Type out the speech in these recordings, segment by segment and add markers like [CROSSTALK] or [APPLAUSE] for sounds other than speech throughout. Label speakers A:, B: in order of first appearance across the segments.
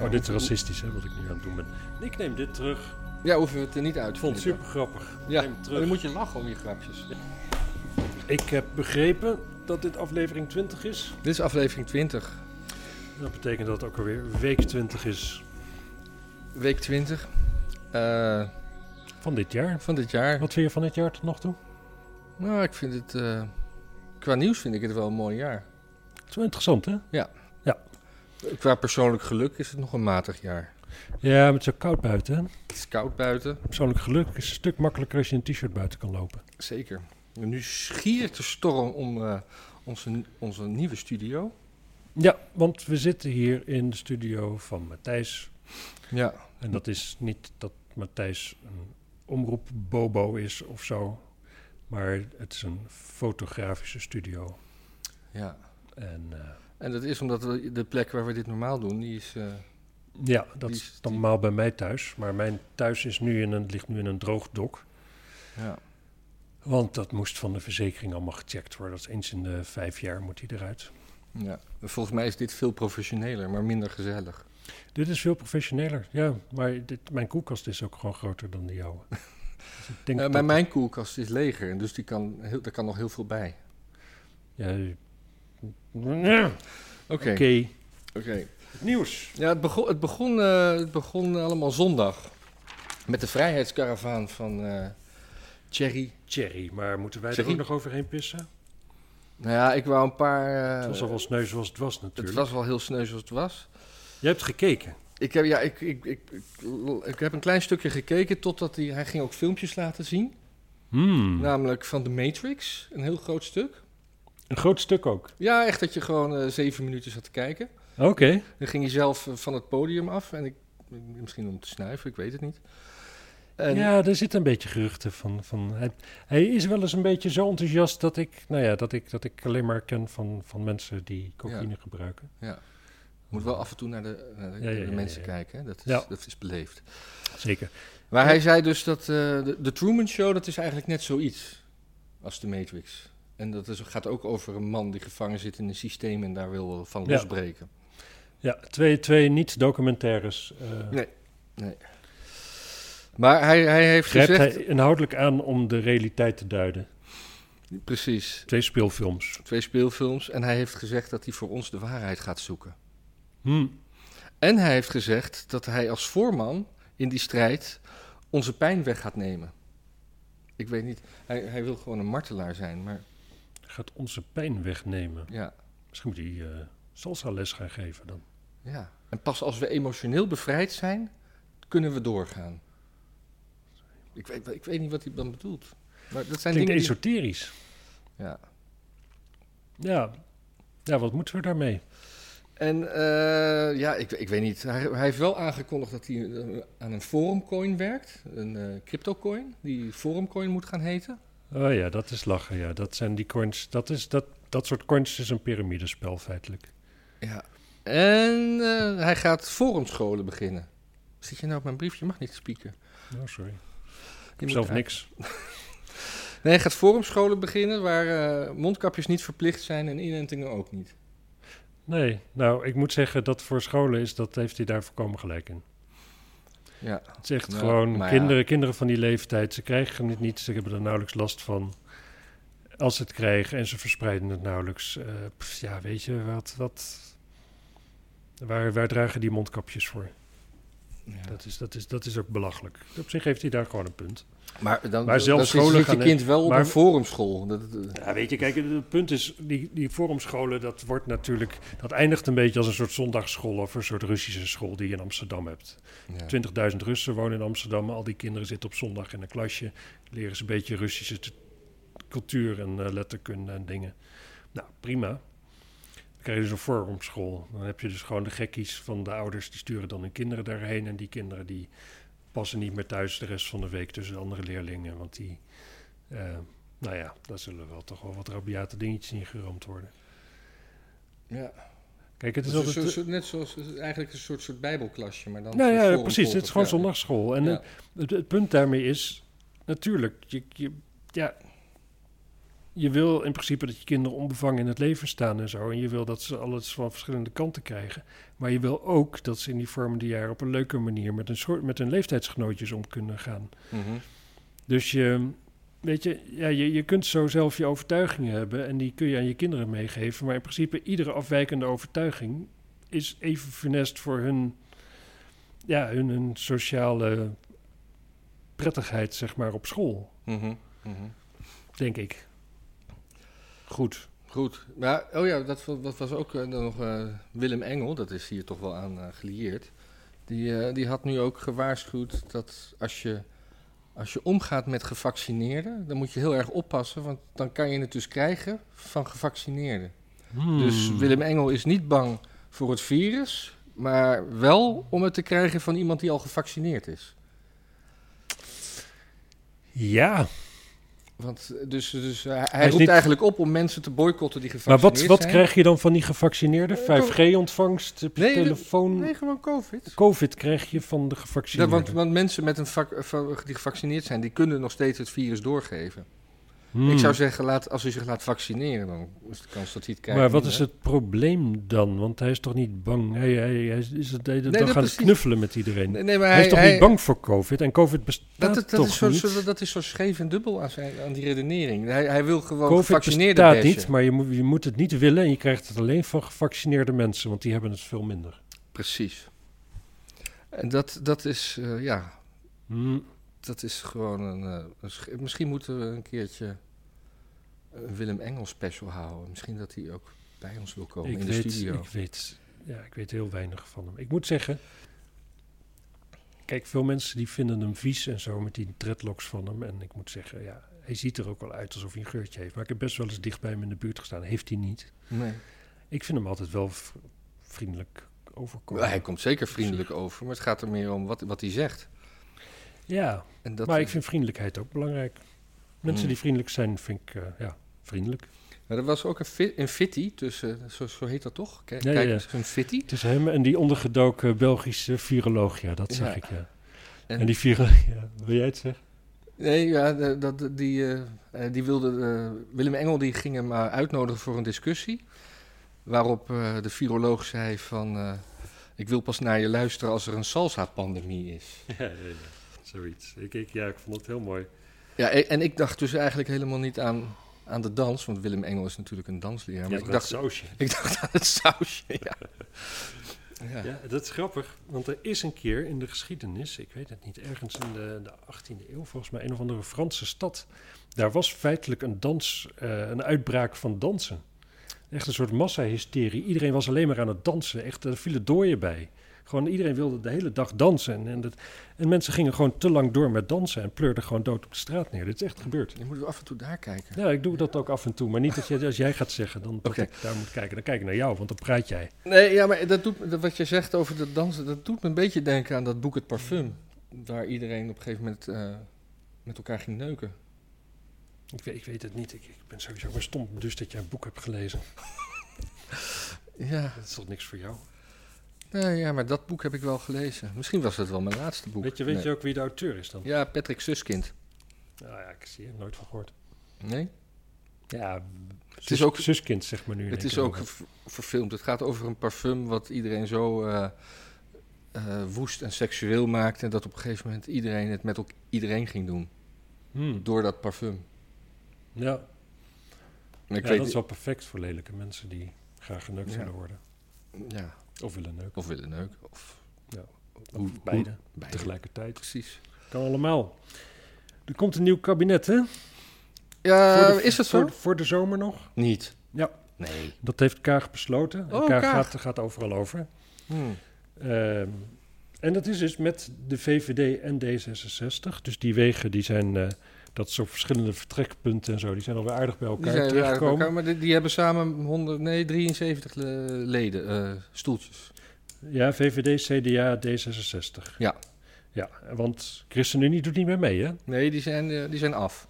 A: Oh, dit is racistisch, hè, wat ik nu aan het doen ben. Ik neem dit terug.
B: Ja, hoeven we het er niet uit
A: Ik
B: te
A: vond het
B: knippen.
A: super grappig.
B: Ja,
A: Neem het
B: maar dan
A: terug.
B: moet je lachen om je grapjes.
A: Ik heb begrepen dat dit aflevering 20 is.
B: Dit is aflevering 20,
A: Dat betekent dat het ook alweer week 20 is
B: week 20 eh,
A: van dit jaar.
B: van dit jaar.
A: Wat vind je van dit jaar tot nog toe?
B: Nou, ik vind het... eh, qua nieuws vind ik het wel een mooi jaar.
A: Het is wel interessant, hè?
B: Qua persoonlijk geluk is het nog een matig jaar.
A: Ja, maar het is ook koud buiten, hè?
B: Het is koud buiten,
A: Persoonlijk geluk is een stuk makkelijker als je in een t-shirt buiten kan lopen.
B: zeker. En nu schiert de storm om eh, onze, onze nieuwe studio.
A: Ja, want we zitten hier in de studio van Matthijs.
B: Ja,
A: En dat is niet dat Matthijs een omroep Bobo is of zo. Maar het is een fotografische studio.
B: ja.
A: En eh,
B: En dat is omdat we de plek waar we dit normaal doen, die is... eh,
A: ja, dat
B: Die-
A: is normaal bij mij thuis. Maar mijn thuis is nu in een, ligt nu in een droog dok.
B: ja.
A: Want dat moest van de verzekering allemaal gecheckt worden. Dat is eens in de vijf jaar moet hij eruit.
B: Ja, volgens mij is dit veel professioneler, maar minder gezellig.
A: Dit is veel professioneler, ja. Maar dit, mijn koelkast is ook gewoon groter dan die
B: [LAUGHS]
A: jouwe. Dus ik denk
B: Eh, maar
A: dat-
B: mijn koelkast is leger, dus die kan heel, daar kan nog heel veel bij.
A: Ja, ja.
B: Oké.
A: Oké,
B: oké.
A: het nieuws.
B: Ja, het begon, het, begon, eh, het begon allemaal zondag met de vrijheidskaravaan van eh Thierry.
A: Thierry, maar moeten wij
B: Thierry.
A: er ook nog overheen pissen?
B: Nou ja, ik wou een paar... eh,
A: Het was al wel sneu zoals het was natuurlijk.
B: het was wel heel sneu zoals het was.
A: Je hebt gekeken.
B: Ik heb, ja, ik, ik, ik, ik, ik heb een klein stukje gekeken totdat hij... Hij ging ook filmpjes laten zien,
A: Hmm.
B: Hmm. namelijk van The Matrix, een heel groot stuk.
A: Een groot stuk ook.
B: Ja, echt dat je gewoon eh, zeven minuten zat te kijken.
A: Oké.
B: Dan ging hij zelf eh, van het podium af. En ik, misschien om te snuiven, ik weet het niet. En, ja.
A: Ja, er zitten een beetje geruchten van. van hij, hij is wel eens een beetje zo enthousiast dat ik, nou ja, dat ik, dat ik alleen maar ken van, van mensen die cocaïne gebruiken.
B: Moet wel af en toe naar de, naar de,
A: Ja, ja,
B: de
A: ja,
B: mensen
A: ja.
B: kijken. Hè? Dat, is,
A: Ja.
B: dat is beleefd.
A: Zeker.
B: Maar hij zei dus dat eh, de, de Truman Show, dat is eigenlijk net zoiets als de Matrix. En dat is, gaat ook over een man die gevangen zit in een systeem en daar wil eh, van
A: Ja.
B: losbreken.
A: Ja, twee, twee niet-documentaires. eh,
B: Nee. Maar hij, hij heeft
A: grijpt
B: gezegd...
A: hij inhoudelijk aan om de realiteit te duiden.
B: Precies,
A: Twee speelfilms.
B: twee speelfilms. En hij heeft gezegd dat hij voor ons de waarheid gaat zoeken.
A: Hm.
B: En hij heeft gezegd dat hij als voorman in die strijd onze pijn weg gaat nemen. Ik weet niet, hij, hij wil gewoon een martelaar zijn, maar
A: Gaat onze pijn wegnemen.
B: ja,
A: Misschien moet hij eh salsa les gaan geven dan.
B: ja. En pas als we emotioneel bevrijd zijn, kunnen we doorgaan. Ik weet, ik weet niet wat hij dan bedoelt. Maar dat zijn
A: Klinkt
B: dingen die...
A: esoterisch.
B: Ja.
A: Ja. ja, wat moeten we daarmee?
B: En eh, ja, ik, ik weet niet. Hij, hij heeft wel aangekondigd dat hij eh, aan een forumcoin werkt. Een eh, cryptocoin, die forumcoin moet gaan heten.
A: Oh ja, dat is lachen. Ja, dat zijn die coins. Dat, is, dat, dat soort coins is een piramidespel feitelijk.
B: Ja. En eh, hij gaat forumscholen beginnen. Zit je nou op mijn brief? Je mag niet spieken.
A: Oh, sorry. Ik
B: Je
A: heb
B: moet
A: zelf
B: uit-
A: niks.
B: Nee, hij gaat forumscholen beginnen waar eh, mondkapjes niet verplicht zijn en inentingen ook niet.
A: Nee, nou, ik moet zeggen dat voor scholen is, dat heeft hij daar voorkomen gelijk in.
B: Ja.
A: Het is echt
B: Nou,
A: gewoon
B: maar ja.
A: kinderen, kinderen van die leeftijd, ze krijgen het niet, ze hebben er nauwelijks last van. Als ze het krijgen en ze verspreiden het nauwelijks. Eh, pff, ja, weet je, wat, wat, waar, waar dragen die mondkapjes voor? Dat, is, dat, is, dat is ook belachelijk. Op zich heeft hij daar gewoon een punt.
B: Maar dan,
A: Maar zelfs
B: dan
A: scholen
B: zit je
A: gaan-
B: kind wel op
A: maar-
B: een forumschool. Dat, dat-
A: Ja, weet je, kijk, het punt is, die, die forumscholen, dat wordt natuurlijk, dat eindigt een beetje als een soort zondagsschool of een soort Russische school die je in Amsterdam hebt.
B: ja.
A: 20.000 Russen wonen in Amsterdam, al die kinderen zitten op zondag in een klasje, leren ze een beetje Russische t- cultuur en eh, letterkunde en dingen. Nou, prima. Dan krijg je dus een forumschool. Dan heb je dus gewoon de gekkies van de ouders, die sturen dan hun kinderen daarheen en die kinderen die passen niet meer thuis de rest van de week tussen de andere leerlingen, want die... eh, nou ja, daar zullen wel toch wel wat rabiate dingetjes in geroomd worden.
B: Ja.
A: Kijk, het is
B: Dat is
A: altijd... eh,
B: zo- zo- net zoals het is eigenlijk een soort, soort bijbelklasje, maar dan...
A: Nou
B: voor
A: ja,
B: forumschool,
A: precies. Het is
B: toch?
A: gewoon
B: Ja.
A: zondagschool. En
B: Ja.
A: eh, het, het punt daarmee is, natuurlijk, je, je, ja, je wil in principe dat je kinderen onbevangen in het leven staan en zo. En je wil dat ze alles van verschillende kanten krijgen. Maar je wil ook dat ze in die vormende jaren op een leuke manier met hun, soort, met hun leeftijdsgenootjes om kunnen gaan.
B: Mhm.
A: Dus je, weet je, ja, je, je kunt zo zelf je overtuigingen hebben en die kun je aan je kinderen meegeven. Maar in principe iedere afwijkende overtuiging is even funest voor hun, ja, hun, hun sociale prettigheid, zeg maar, op school,
B: Mhm. Mhm.
A: denk ik. Goed.
B: Goed. Maar, oh ja, dat, wa- dat was ook eh, dan nog eh, Willem Engel, dat is hier toch wel aan eh, gelieerd. Die, eh, die had nu ook gewaarschuwd dat als je, als je omgaat met gevaccineerden, dan moet je heel erg oppassen, want dan kan je het dus krijgen van gevaccineerden.
A: Hmm.
B: Dus Willem Engel is niet bang voor het virus, maar wel om het te krijgen van iemand die al gevaccineerd is.
A: Ja,
B: Want eh, dus, dus eh, hij,
A: is
B: roept
A: niet-
B: eigenlijk op om mensen te boycotten die
A: maar
B: gevaccineerd
A: wat, wat
B: zijn.
A: krijg je dan van die gevaccineerden?
B: Eh, toch-
A: 5G-ontvangst, heb je
B: Nee, dat-
A: telefoon...
B: Nee, gewoon COVID.
A: Covid krijg je van de
B: Ja,
A: gevaccineerden.
B: want, want mensen met een vac- eh, van- die gevaccineerd zijn, die kunnen nog steeds het virus doorgeven.
A: Hmm.
B: Ik zou zeggen, laat, als u zich laat vaccineren, dan is de kans dat hij het krijgt.
A: maar wat
B: minder.
A: is het probleem dan? Want hij is toch niet bang? Hij, hij, hij is, is het de hele
B: Nee,
A: dag
B: dat
A: aan het
B: precies.
A: knuffelen met iedereen.
B: Nee, nee, maar
A: hij,
B: hij
A: is toch niet bang voor COVID? En COVID
B: Dat,
A: bestaat
B: dat, dat
A: toch
B: is zo,
A: niet?
B: zo- dat is zo scheef en dubbel aan, zijn, aan die redenering. Hij, hij wil gewoon
A: COVID
B: gevaccineerden
A: bestaat
B: bashen.
A: niet, maar je moet, je moet het niet willen... en je krijgt het alleen van gevaccineerde mensen... want die hebben het veel minder.
B: Precies. En dat, dat is, eh, ja,
A: Hmm.
B: dat is gewoon een, eh, een sch- Misschien moeten we een keertje een Willem Engel special houden. Misschien dat hij ook bij ons wil komen
A: Ik,
B: in de
A: weet,
B: studio.
A: ik, weet, ja, ik weet heel weinig van hem. Ik moet zeggen... Kijk, veel mensen die vinden hem vies en zo... met die dreadlocks van hem. En ik moet zeggen, ja, hij ziet er ook wel uit alsof hij een geurtje heeft. Maar ik heb best wel eens dicht bij hem in de buurt gestaan. Heeft hij niet.
B: Nee.
A: Ik vind hem altijd wel v- vriendelijk overkomen.
B: Ja, hij komt zeker vriendelijk over, maar het gaat er meer om wat, wat hij zegt.
A: Ja,
B: En dat,
A: maar ik vind vriendelijkheid ook belangrijk. Mensen
B: Hmm.
A: die vriendelijk zijn, vind ik eh, ja, vriendelijk.
B: Maar eh, er was ook een, fi een fitty tussen, zo, zo heet dat toch? Kijk,
A: Ja, ja,
B: kijk
A: ja.
B: eens, een fitty.
A: Het is hem en die ondergedoken Belgische viroloog, ja, dat zag
B: Ja.
A: ik, ja. En,
B: En-
A: die viroloog, [LAUGHS] ja, wil jij het zeggen?
B: Nee, ja, de- dat, die, eh, eh, die wilde, eh, Willem Engel die ging hem eh, uitnodigen voor een discussie. Waarop eh, de viroloog zei van, eh, ik wil pas naar je luisteren als er een salsa-pandemie is.
A: [LAUGHS] Ja, zoiets. Ik, ja, ik vond het heel mooi.
B: Ja, e- en ik dacht dus eigenlijk helemaal niet aan, aan de dans, want Willem Engel is natuurlijk een dansleraar. Maar ik, dacht, [LAUGHS]
A: sausje.
B: ik dacht aan het sausje,
A: [LAUGHS]
B: ja. Ja.
A: Ja, dat is grappig, want er is een keer in de geschiedenis, ik weet het niet, ergens in de, de 18e eeuw volgens mij, een of andere Franse stad. Daar was feitelijk een dans, eh, een uitbraak van dansen. Echt een soort massahysterie. Iedereen was alleen maar aan het dansen. Echt, er vielen dooien bij. Gewoon iedereen wilde de hele dag dansen. En, en, dat, en mensen gingen gewoon te lang door met dansen en pleurden gewoon dood op de straat neer. Dit is echt gebeurd.
B: Je moet af en toe daar kijken.
A: Ja, ik doe dat ook af en toe. Maar niet dat jij, als jij gaat zeggen dan dat
B: Oké.
A: ik daar moet kijken. Dan kijk ik naar jou, want dan praat jij.
B: Nee, ja, maar dat doet, me- dat wat je zegt over dat dansen, dat doet me een beetje denken aan dat boek Het Parfum. Waar iedereen op een gegeven moment eh, met elkaar ging neuken.
A: Ik weet, ik weet het niet. Ik, ik ben sowieso maar stom dus dat jij een boek hebt gelezen.
B: Ja,
A: Dat is toch niks voor jou?
B: nee, ja, maar dat boek heb ik wel gelezen. Misschien was dat wel mijn laatste boek.
A: Weet je, weet
B: Nee.
A: je ook wie de auteur is dan? Ja. Nou
B: Ja, Patrick Suskind.
A: ja, ik zie er nooit van gehoord.
B: Nee?
A: Ja, het
B: is ook-
A: zuskind, zeg maar nu. in
B: het
A: één
B: is
A: keer.
B: ook ver- verfilmd. Het gaat over een parfum wat iedereen zo eh, eh, woest en seksueel maakt. En dat op een gegeven moment iedereen het met elk- iedereen ging doen.
A: Hmm,
B: Door dat parfum.
A: Ja,
B: Maar ik
A: Ja,
B: weet
A: dat is wel perfect voor lelijke mensen die graag geneukt
B: Ja.
A: willen worden.
B: Ja,
A: Of willen neuken.
B: of willen neuken. Of
A: Of
B: hoe-
A: beide,
B: beide.
A: tegelijkertijd.
B: Precies.
A: Kan allemaal. Er komt een nieuw kabinet, hè?
B: Ja,
A: Voor de-
B: Eh, is dat zo?
A: Voor, voor de zomer nog.
B: Niet.
A: Ja.
B: Nee.
A: Dat heeft Kaag besloten. En
B: Oh,
A: Kaag,
B: Kaag.
A: Gaat, gaat overal over. Ehm, en dat is dus met de VVD en D66. Dus die wegen die zijn, eh, dat soort verschillende vertrekpunten en zo, die zijn alweer aardig bij
B: Die
A: elkaar
B: zijn weer uit
A: terechtgekomen.
B: elkaar, maar die, die hebben samen 100, nee, 73 le- leden, eh, stoeltjes.
A: Ja, VVD, CDA, D66.
B: Ja.
A: Ja, want ChristenUnie doet niet meer mee, hè?
B: Nee, die zijn, eh, die zijn af.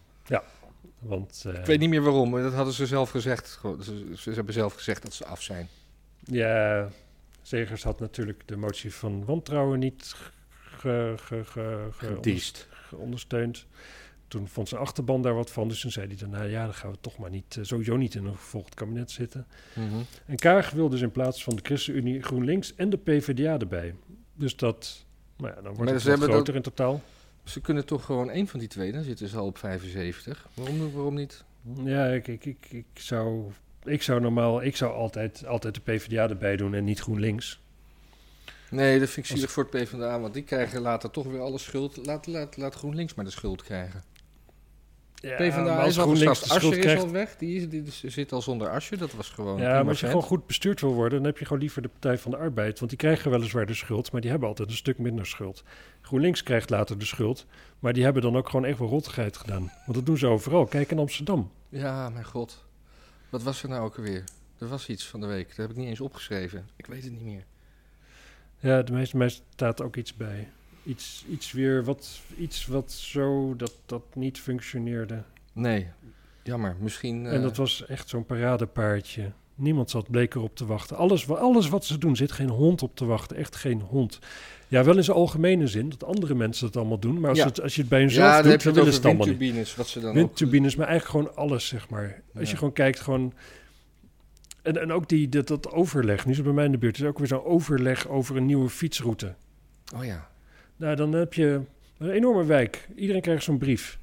A: Want, eh,
B: Ik weet niet meer waarom, maar dat hadden ze zelf gezegd. Gewoon, Ze, ze hebben zelf gezegd dat ze af zijn.
A: Ja, Zegers had natuurlijk de motie van wantrouwen niet ge- ge- ge- ge-
B: Gediest.
A: ondersteund. toen vond zijn achterban daar wat van. Dus toen zei hij daarna, ja, dan gaan we toch maar niet, eh, sowieso niet in een gevolgd kabinet zitten.
B: Mhm.
A: En Kaag wil dus in plaats van de ChristenUnie GroenLinks en de PvdA erbij. Dus dat, nou ja, dan wordt
B: Maar
A: het
B: ze
A: wat
B: hebben dat-
A: groter in totaal.
B: Ze kunnen toch gewoon één van die twee, dan zitten ze al op 75. Waarom, waarom niet?
A: Ja, ik, ik, ik, ik zou... Ik zou normaal, ik zou altijd, altijd de PvdA erbij doen en niet GroenLinks.
B: Nee, dat vind ik zielig voor het PvdA, want die krijgen later toch weer alle schuld. Laat, laat, laat GroenLinks maar de schuld krijgen.
A: Ja, maar
B: PvdA
A: als
B: is al
A: GroenLinks
B: geschrapt.
A: de schuld
B: Asscher is
A: krijgt-
B: al weg. Die, is, die is- zit al zonder Asscher. Dat was gewoon
A: Ja,
B: prima
A: maar als je
B: vent.
A: gewoon goed bestuurd wil worden, dan heb je gewoon liever de Partij van de Arbeid. Want die krijgen weliswaar de schuld, maar die hebben altijd een stuk minder schuld. GroenLinks krijgt later de schuld, maar die hebben dan ook gewoon echt wel rottigheid gedaan. Want dat doen ze overal. Kijk in Amsterdam.
B: Ja, mijn god. Wat was er nou ook alweer? Er was iets van de week. Dat heb ik niet eens opgeschreven. Ik weet het niet meer.
A: Ja, de meeste mensen staat ook iets bij. Iets, iets weer wat, iets wat zo dat dat niet functioneerde.
B: Nee, jammer. Misschien... eh,
A: En dat was echt zo'n paradepaardje. Niemand zat bleek erop te wachten. Alles, wa- alles wat ze doen, zit geen hond op te wachten. Echt geen hond. Ja, wel in zijn algemene zin, dat andere mensen het allemaal doen. Maar als,
B: Ja.
A: het, als je het bij hunzelf
B: ja, dan heb
A: doet,
B: je
A: dan
B: het
A: willen ze
B: over
A: het allemaal niet.
B: windturbines. Wat ze dan ook...
A: Windturbines, maar eigenlijk gewoon alles, zeg maar. Als
B: Ja.
A: je gewoon kijkt, gewoon... En, en ook die, dat, dat overleg. Nu is het bij mij in de buurt. Er is ook weer zo'n overleg over een nieuwe fietsroute.
B: Oh ja.
A: Nou, dan heb je een enorme wijk. Iedereen krijgt zo'n brief.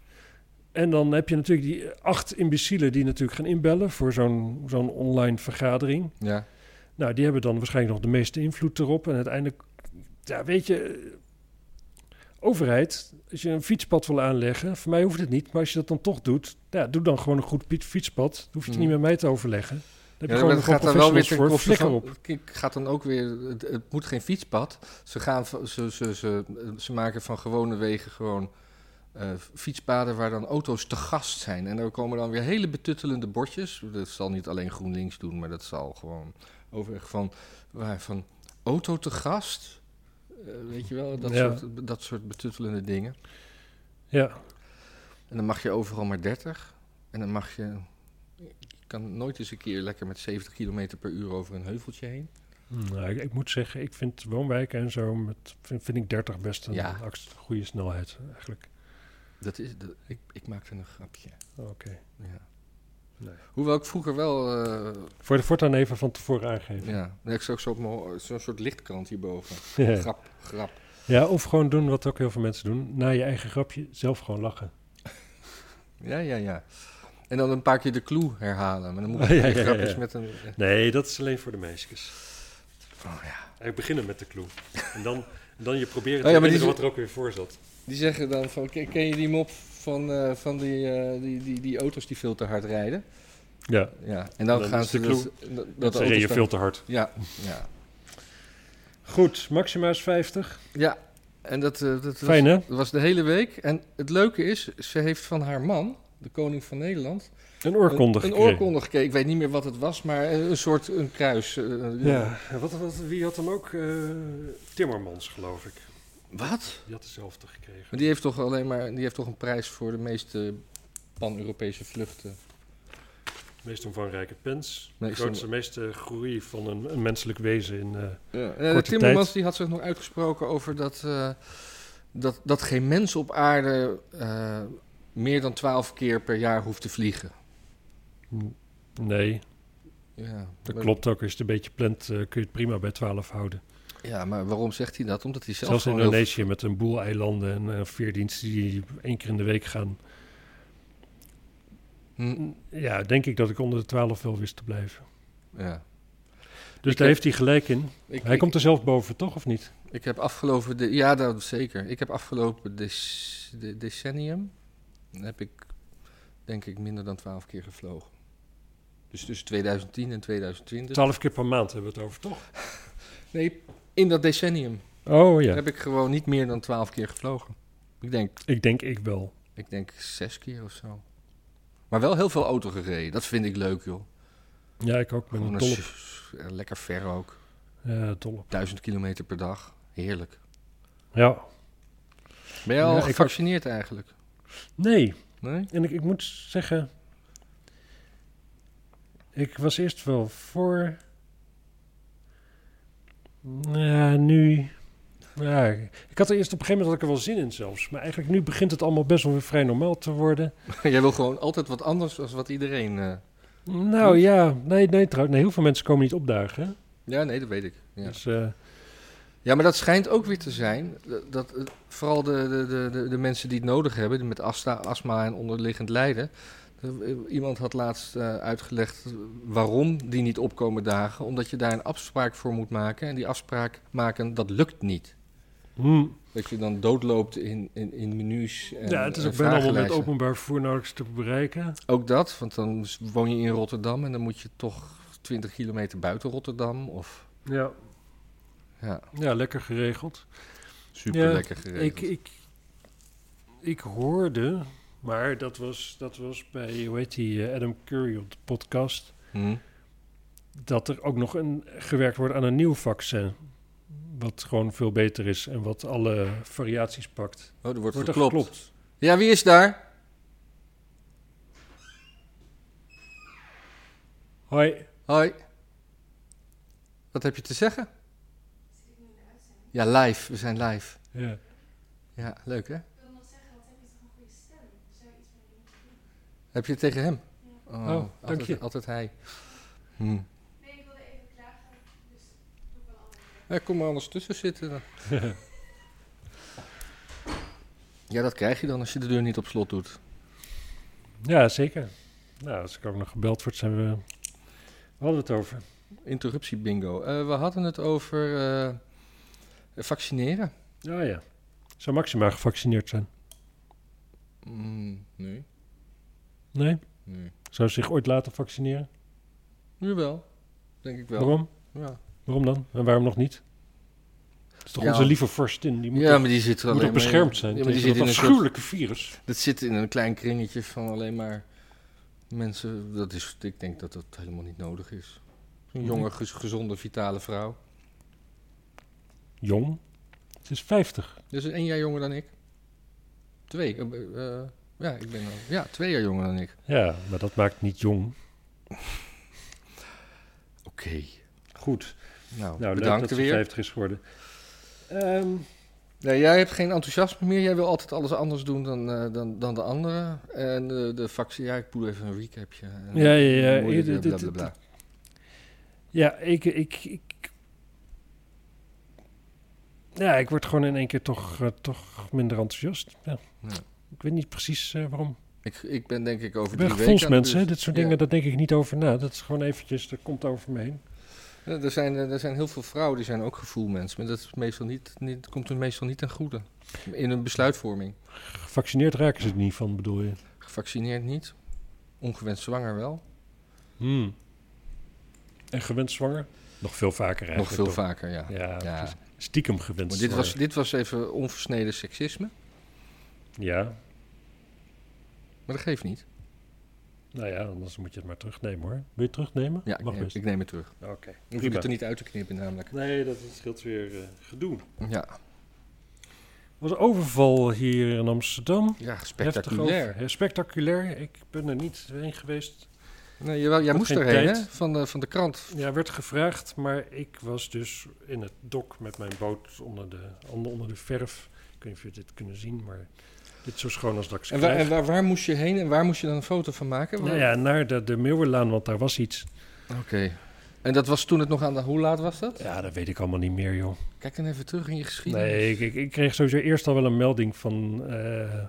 A: En dan heb je natuurlijk die acht imbecielen die natuurlijk gaan inbellen voor zo'n zo'n online vergadering.
B: Ja.
A: Nou, die hebben dan waarschijnlijk nog de meeste invloed erop. En uiteindelijk, ja, weet je, eh, overheid, als je een fietspad wil aanleggen, voor mij hoeft het niet, maar als je dat dan toch doet, ja, doe dan gewoon een goed piet- fietspad. Dan hoef je het
B: Hmm.
A: niet met mij te overleggen. Dan heb je
B: Ja, maar
A: gewoon,
B: het
A: gewoon
B: gaat dan wel weer
A: professionals
B: ten
A: voor,
B: koste
A: flikker
B: van...
A: op.
B: Het gaat dan ook weer... Het, het moet geen fietspad. Ze, gaan, van- ze, ze, ze, ze maken van gewone wegen gewoon eh, fietspaden waar dan auto's te gast zijn. En er komen dan weer hele betuttelende bordjes. Dat zal niet alleen GroenLinks doen, maar dat zal gewoon overweg van... Waar, van auto te gast... Eh, weet je wel, dat,
A: Ja.
B: soort, dat soort betuttelende dingen.
A: Ja,
B: En dan mag je overal maar 30. En dan mag je... Je kan nooit eens een keer lekker met 70 km per uur over een heuveltje heen.
A: Nou, ik, ik moet zeggen, ik vind woonwijken en zo, met, vind, vind ik 30 best een
B: Ja.
A: acc- goede snelheid eigenlijk.
B: Dat is, dat- ik, ik maakte een grapje.
A: Oké.
B: Ja.
A: Nee.
B: Hoewel ik vroeger wel... eh,
A: Voor de voortaan even van tevoren aangeven.
B: ja, nee, ik zag zo op mijn- zo'n soort lichtkrant hierboven.
A: [LAUGHS] Ja.
B: Grap, grap.
A: of gewoon doen wat ook heel veel mensen doen. Na je eigen grapje, zelf gewoon lachen.
B: Ja, ja, ja. En dan een paar keer de clue herhalen. Maar dan [LAUGHS] moet ik
A: Ja, ja,
B: geen
A: ja,
B: grapjes
A: ja.
B: met een...
A: Nee, dat is alleen voor de meisjes.
B: Oh, ja.
A: Eigenlijk beginnen met de clue. En dan, en dan je proberen te
B: Oh ja, maar die
A: herinneren
B: is-
A: wat er ook weer voor zat.
B: Die zeggen dan van... "Ken- Ken je die mop van, eh, van die, eh, die, die, die auto's die veel te hard rijden?
A: Ja,
B: Ja. En dan,
A: Dan
B: gaan
A: is
B: ze
A: de
B: dus... dat, dat
A: dat reed
B: auto's
A: je
B: dan-
A: veel te hard.
B: Ja, ja.
A: Goed, maxima is 50.
B: Ja, en dat, eh, dat was,
A: Fijn, hè?
B: dat was de hele week. En het leuke is, ze heeft van haar man, de koning van Nederland...
A: Een oorkonde
B: Een, een
A: gekregen.
B: oorkonde gekregen. Ik weet niet meer wat het was, maar eh, een soort een kruis. eh,
A: Ja, wat, wat, wie had hem ook? Eh, Timmermans, geloof ik.
B: Wat?
A: Die had dezelfde gekregen.
B: Maar die heeft toch alleen maar die heeft toch een prijs voor de meeste pan-Europese vluchten.
A: meest omvangrijke pens.
B: Nee,
A: De
B: ik
A: grootste, meeste groei van een, een menselijk wezen in... eh,
B: Ja.
A: Korte
B: Timmermans
A: tijd.
B: die had zich nog uitgesproken over dat, eh, dat, dat geen mens op aarde eh, meer dan twaalf keer per jaar hoeft te vliegen.
A: Nee,
B: Ja,
A: dat
B: maar-
A: klopt ook. Als je het een beetje plant, eh, kun je het prima bij 12 houden.
B: Ja, maar waarom zegt hij dat? Omdat hij zelf
A: Zelfs in
B: gewoon heel-
A: Indonesië met een boel eilanden en eh, veerdiensten die één keer in de week gaan.
B: Hm,
A: Ja, denk ik dat ik onder de 12 wel wist te blijven.
B: Hm, ja.
A: Dus
B: Ik
A: daar
B: heb-
A: heeft hij gelijk in.
B: Ik,
A: Hij
B: ik-
A: komt er zelf boven, toch? Of niet?
B: Ik heb afgelopen... De, ja, dat zeker. Ik heb afgelopen dec- de- decennium... heb ik, denk ik, minder dan twaalf keer gevlogen. Dus tussen 2010 en 2020.
A: 12 keer per maand hebben we het over, toch?
B: Nee, in dat decennium
A: Oh ja,
B: heb ik gewoon niet meer dan twaalf keer gevlogen. Ik denk,
A: ik denk ik wel.
B: ik denk zes keer of zo. Maar wel heel veel auto gereden. Dat vind ik leuk, joh.
A: Ja, ik ook. Ik ben
B: Gewoon
A: een
B: een
A: dol op.
B: s- eh, lekker ver ook.
A: Ja, dol op.
B: Duizend kilometer per dag. Heerlijk.
A: Ja.
B: Ben jij al
A: Ja, ik ook.
B: gevaccineerd eigenlijk?
A: Nee,
B: Nee?
A: En ik, ik moet zeggen, ik was eerst wel voor. Ja, nu. Ja, ik had er eerst op een gegeven moment had ik er wel zin in zelfs. Maar eigenlijk nu begint het allemaal best wel weer vrij normaal te worden.
B: [LAUGHS] Jij wil gewoon altijd wat anders dan wat iedereen... eh,
A: Nou ja, nee, nee trouwens. Nee, heel veel mensen komen niet opdagen. hè.
B: Ja, nee, dat weet ik. Ja.
A: Dus, eh,
B: Ja, maar dat schijnt ook weer te zijn. Dat, dat, eh, vooral de, de, de, de, de mensen die het nodig hebben, die met asta, astma en onderliggend lijden. Eh, Iemand had laatst eh, uitgelegd waarom die niet opkomen dagen. Omdat je daar een afspraak voor moet maken. En die afspraak maken, dat lukt niet.
A: hmm.
B: Dat je dan doodloopt in, in, in menus. En,
A: ja, het is
B: en
A: ook bijna allemaal met
B: vragenlijsten.
A: openbaar vervoer nauwelijks te bereiken.
B: Ook dat, want dan woon je in Rotterdam en dan moet je toch 20 kilometer buiten Rotterdam. Of,
A: Ja,
B: ja,
A: ja lekker geregeld.
B: super lekker geregeld.
A: Ik, ik, ik hoorde, maar dat was, dat was bij, hoe heet die, eh, Adam Curry op de podcast...
B: Hm?
A: dat er ook nog een, gewerkt wordt aan een nieuw vaccin... Wat gewoon veel beter is en wat alle variaties pakt.
B: Oh, er wordt,
A: Wordt er
B: geklopt.
A: geklopt?
B: Ja, wie is daar?
A: Hoi.
B: Hoi. Wat heb je te zeggen? Ja, live. We zijn live.
A: Ja.
B: Ja, leuk hè? Heb je het tegen hem? Oh,
A: dank
B: altijd,
A: je.
B: Altijd hij. Hm. Ja, kom maar anders tussen zitten dan. [LAUGHS] ja, dat krijg je dan als je de deur niet op slot doet.
A: ja, zeker. Nou, als ik ook nog gebeld word, zijn we... We hadden het over.
B: Interruptie bingo. Eh, we hadden het over eh, vaccineren.
A: Ja, Ah, ja. Zou Maxima gevaccineerd zijn?
B: Mm, nee,
A: Nee?
B: nee.
A: Zou ze zich ooit laten vaccineren?
B: Nu wel. Denk ik wel.
A: Waarom?
B: Ja.
A: Waarom dan? En waarom nog niet? Het is toch
B: Ja.
A: onze lieve vorstin? Die moet
B: ja,
A: toch,
B: maar die zit er
A: moet
B: alleen
A: toch
B: maar in-
A: beschermd zijn
B: Ja, maar
A: tegen
B: die zit in
A: dat
B: een soort,
A: afschuwelijke virus?
B: dat zit in een klein kringetje van alleen maar mensen. Dat is, ik denk dat dat helemaal niet nodig is. Een jonge, gez- gezonde, vitale vrouw.
A: Jong? Ze is 50.
B: Dus één jaar jonger dan ik. Twee. eh, eh, ja, ik ben al, ja, twee jaar jonger dan ik.
A: Ja, maar dat maakt niet jong.
B: Oké.
A: Goed.
B: Nou,
A: Nou, leuk
B: bedankt
A: dat ze
B: weer.
A: 50 is geworden. Ehm,
B: Nee, jij hebt geen enthousiasme meer. Jij wil altijd alles anders doen dan, eh, dan, dan de anderen. En eh, de vaccin... Ja, ik doe even een recapje. En
A: Ja, ja, ja.
B: dan moet je weer
A: Dit- dit-
B: blablabla.
A: ja, ik, ik, ik... Ja, ik word gewoon in één keer toch, eh, toch minder enthousiast. Ja.
B: Ja.
A: Ik weet niet precies eh, waarom.
B: Ik, ik ben denk ik over
A: Ik
B: drie
A: ben
B: weken... aan de
A: gevoelsmens, hè.
B: beurt.
A: Dit soort
B: Ja.
A: dingen, daar denk ik niet over na. Dat is gewoon eventjes, dat komt over me heen.
B: Ja, er, zijn, eh, er zijn heel veel vrouwen die zijn ook gevoelmens, maar dat is meestal niet, niet, komt hun meestal niet ten goede. In hun besluitvorming.
A: Gevaccineerd raken ze er niet van, bedoel je?
B: Gevaccineerd niet, ongewenst zwanger wel.
A: Hmm. En gewend zwanger? Nog veel vaker eigenlijk.
B: Nog veel
A: toch?
B: vaker, ja.
A: Ja,
B: Ja.
A: precies. stiekem gewend
B: Maar dit, was,
A: zwanger.
B: dit was even onversneden seksisme,
A: Ja,
B: maar dat geeft niet.
A: nou ja, anders moet je het maar terugnemen hoor. Wil je het terugnemen?
B: Ja, ik
A: Mag
B: neem,
A: best.
B: ik neem het terug.
A: Oké,
B: Ik hoef ik het er niet uit te knippen namelijk.
A: Nee, dat scheelt weer eh, gedoe.
B: Ja,
A: Er was een overval hier in Amsterdam.
B: ja
A: Heftig over-
B: spectaculair.
A: ja, spectaculair. Ik ben er niet heen geweest.
B: Nee, jawel, jij
A: Had
B: moest
A: geen
B: erheen,
A: tijd.
B: hè? Van de, van de krant.
A: Ja, werd gevraagd, maar ik was dus in het dok met mijn boot onder de, onder onder de verf. Ik weet niet of je dit kunnen zien, maar dit is zo schoon als dat ik ze
B: En, waar, en
A: krijg.
B: waar, waar moest je heen en waar moest je dan een foto van maken?
A: Nou ja, naar de, de Meeuwenlaan, want daar was iets.
B: Oké. En dat was toen het nog aan de... Hoe laat was dat?
A: Ja, dat weet ik allemaal niet meer, joh.
B: Kijk dan even terug in je geschiedenis.
A: Nee, ik, ik, ik kreeg sowieso eerst al wel een melding van eh,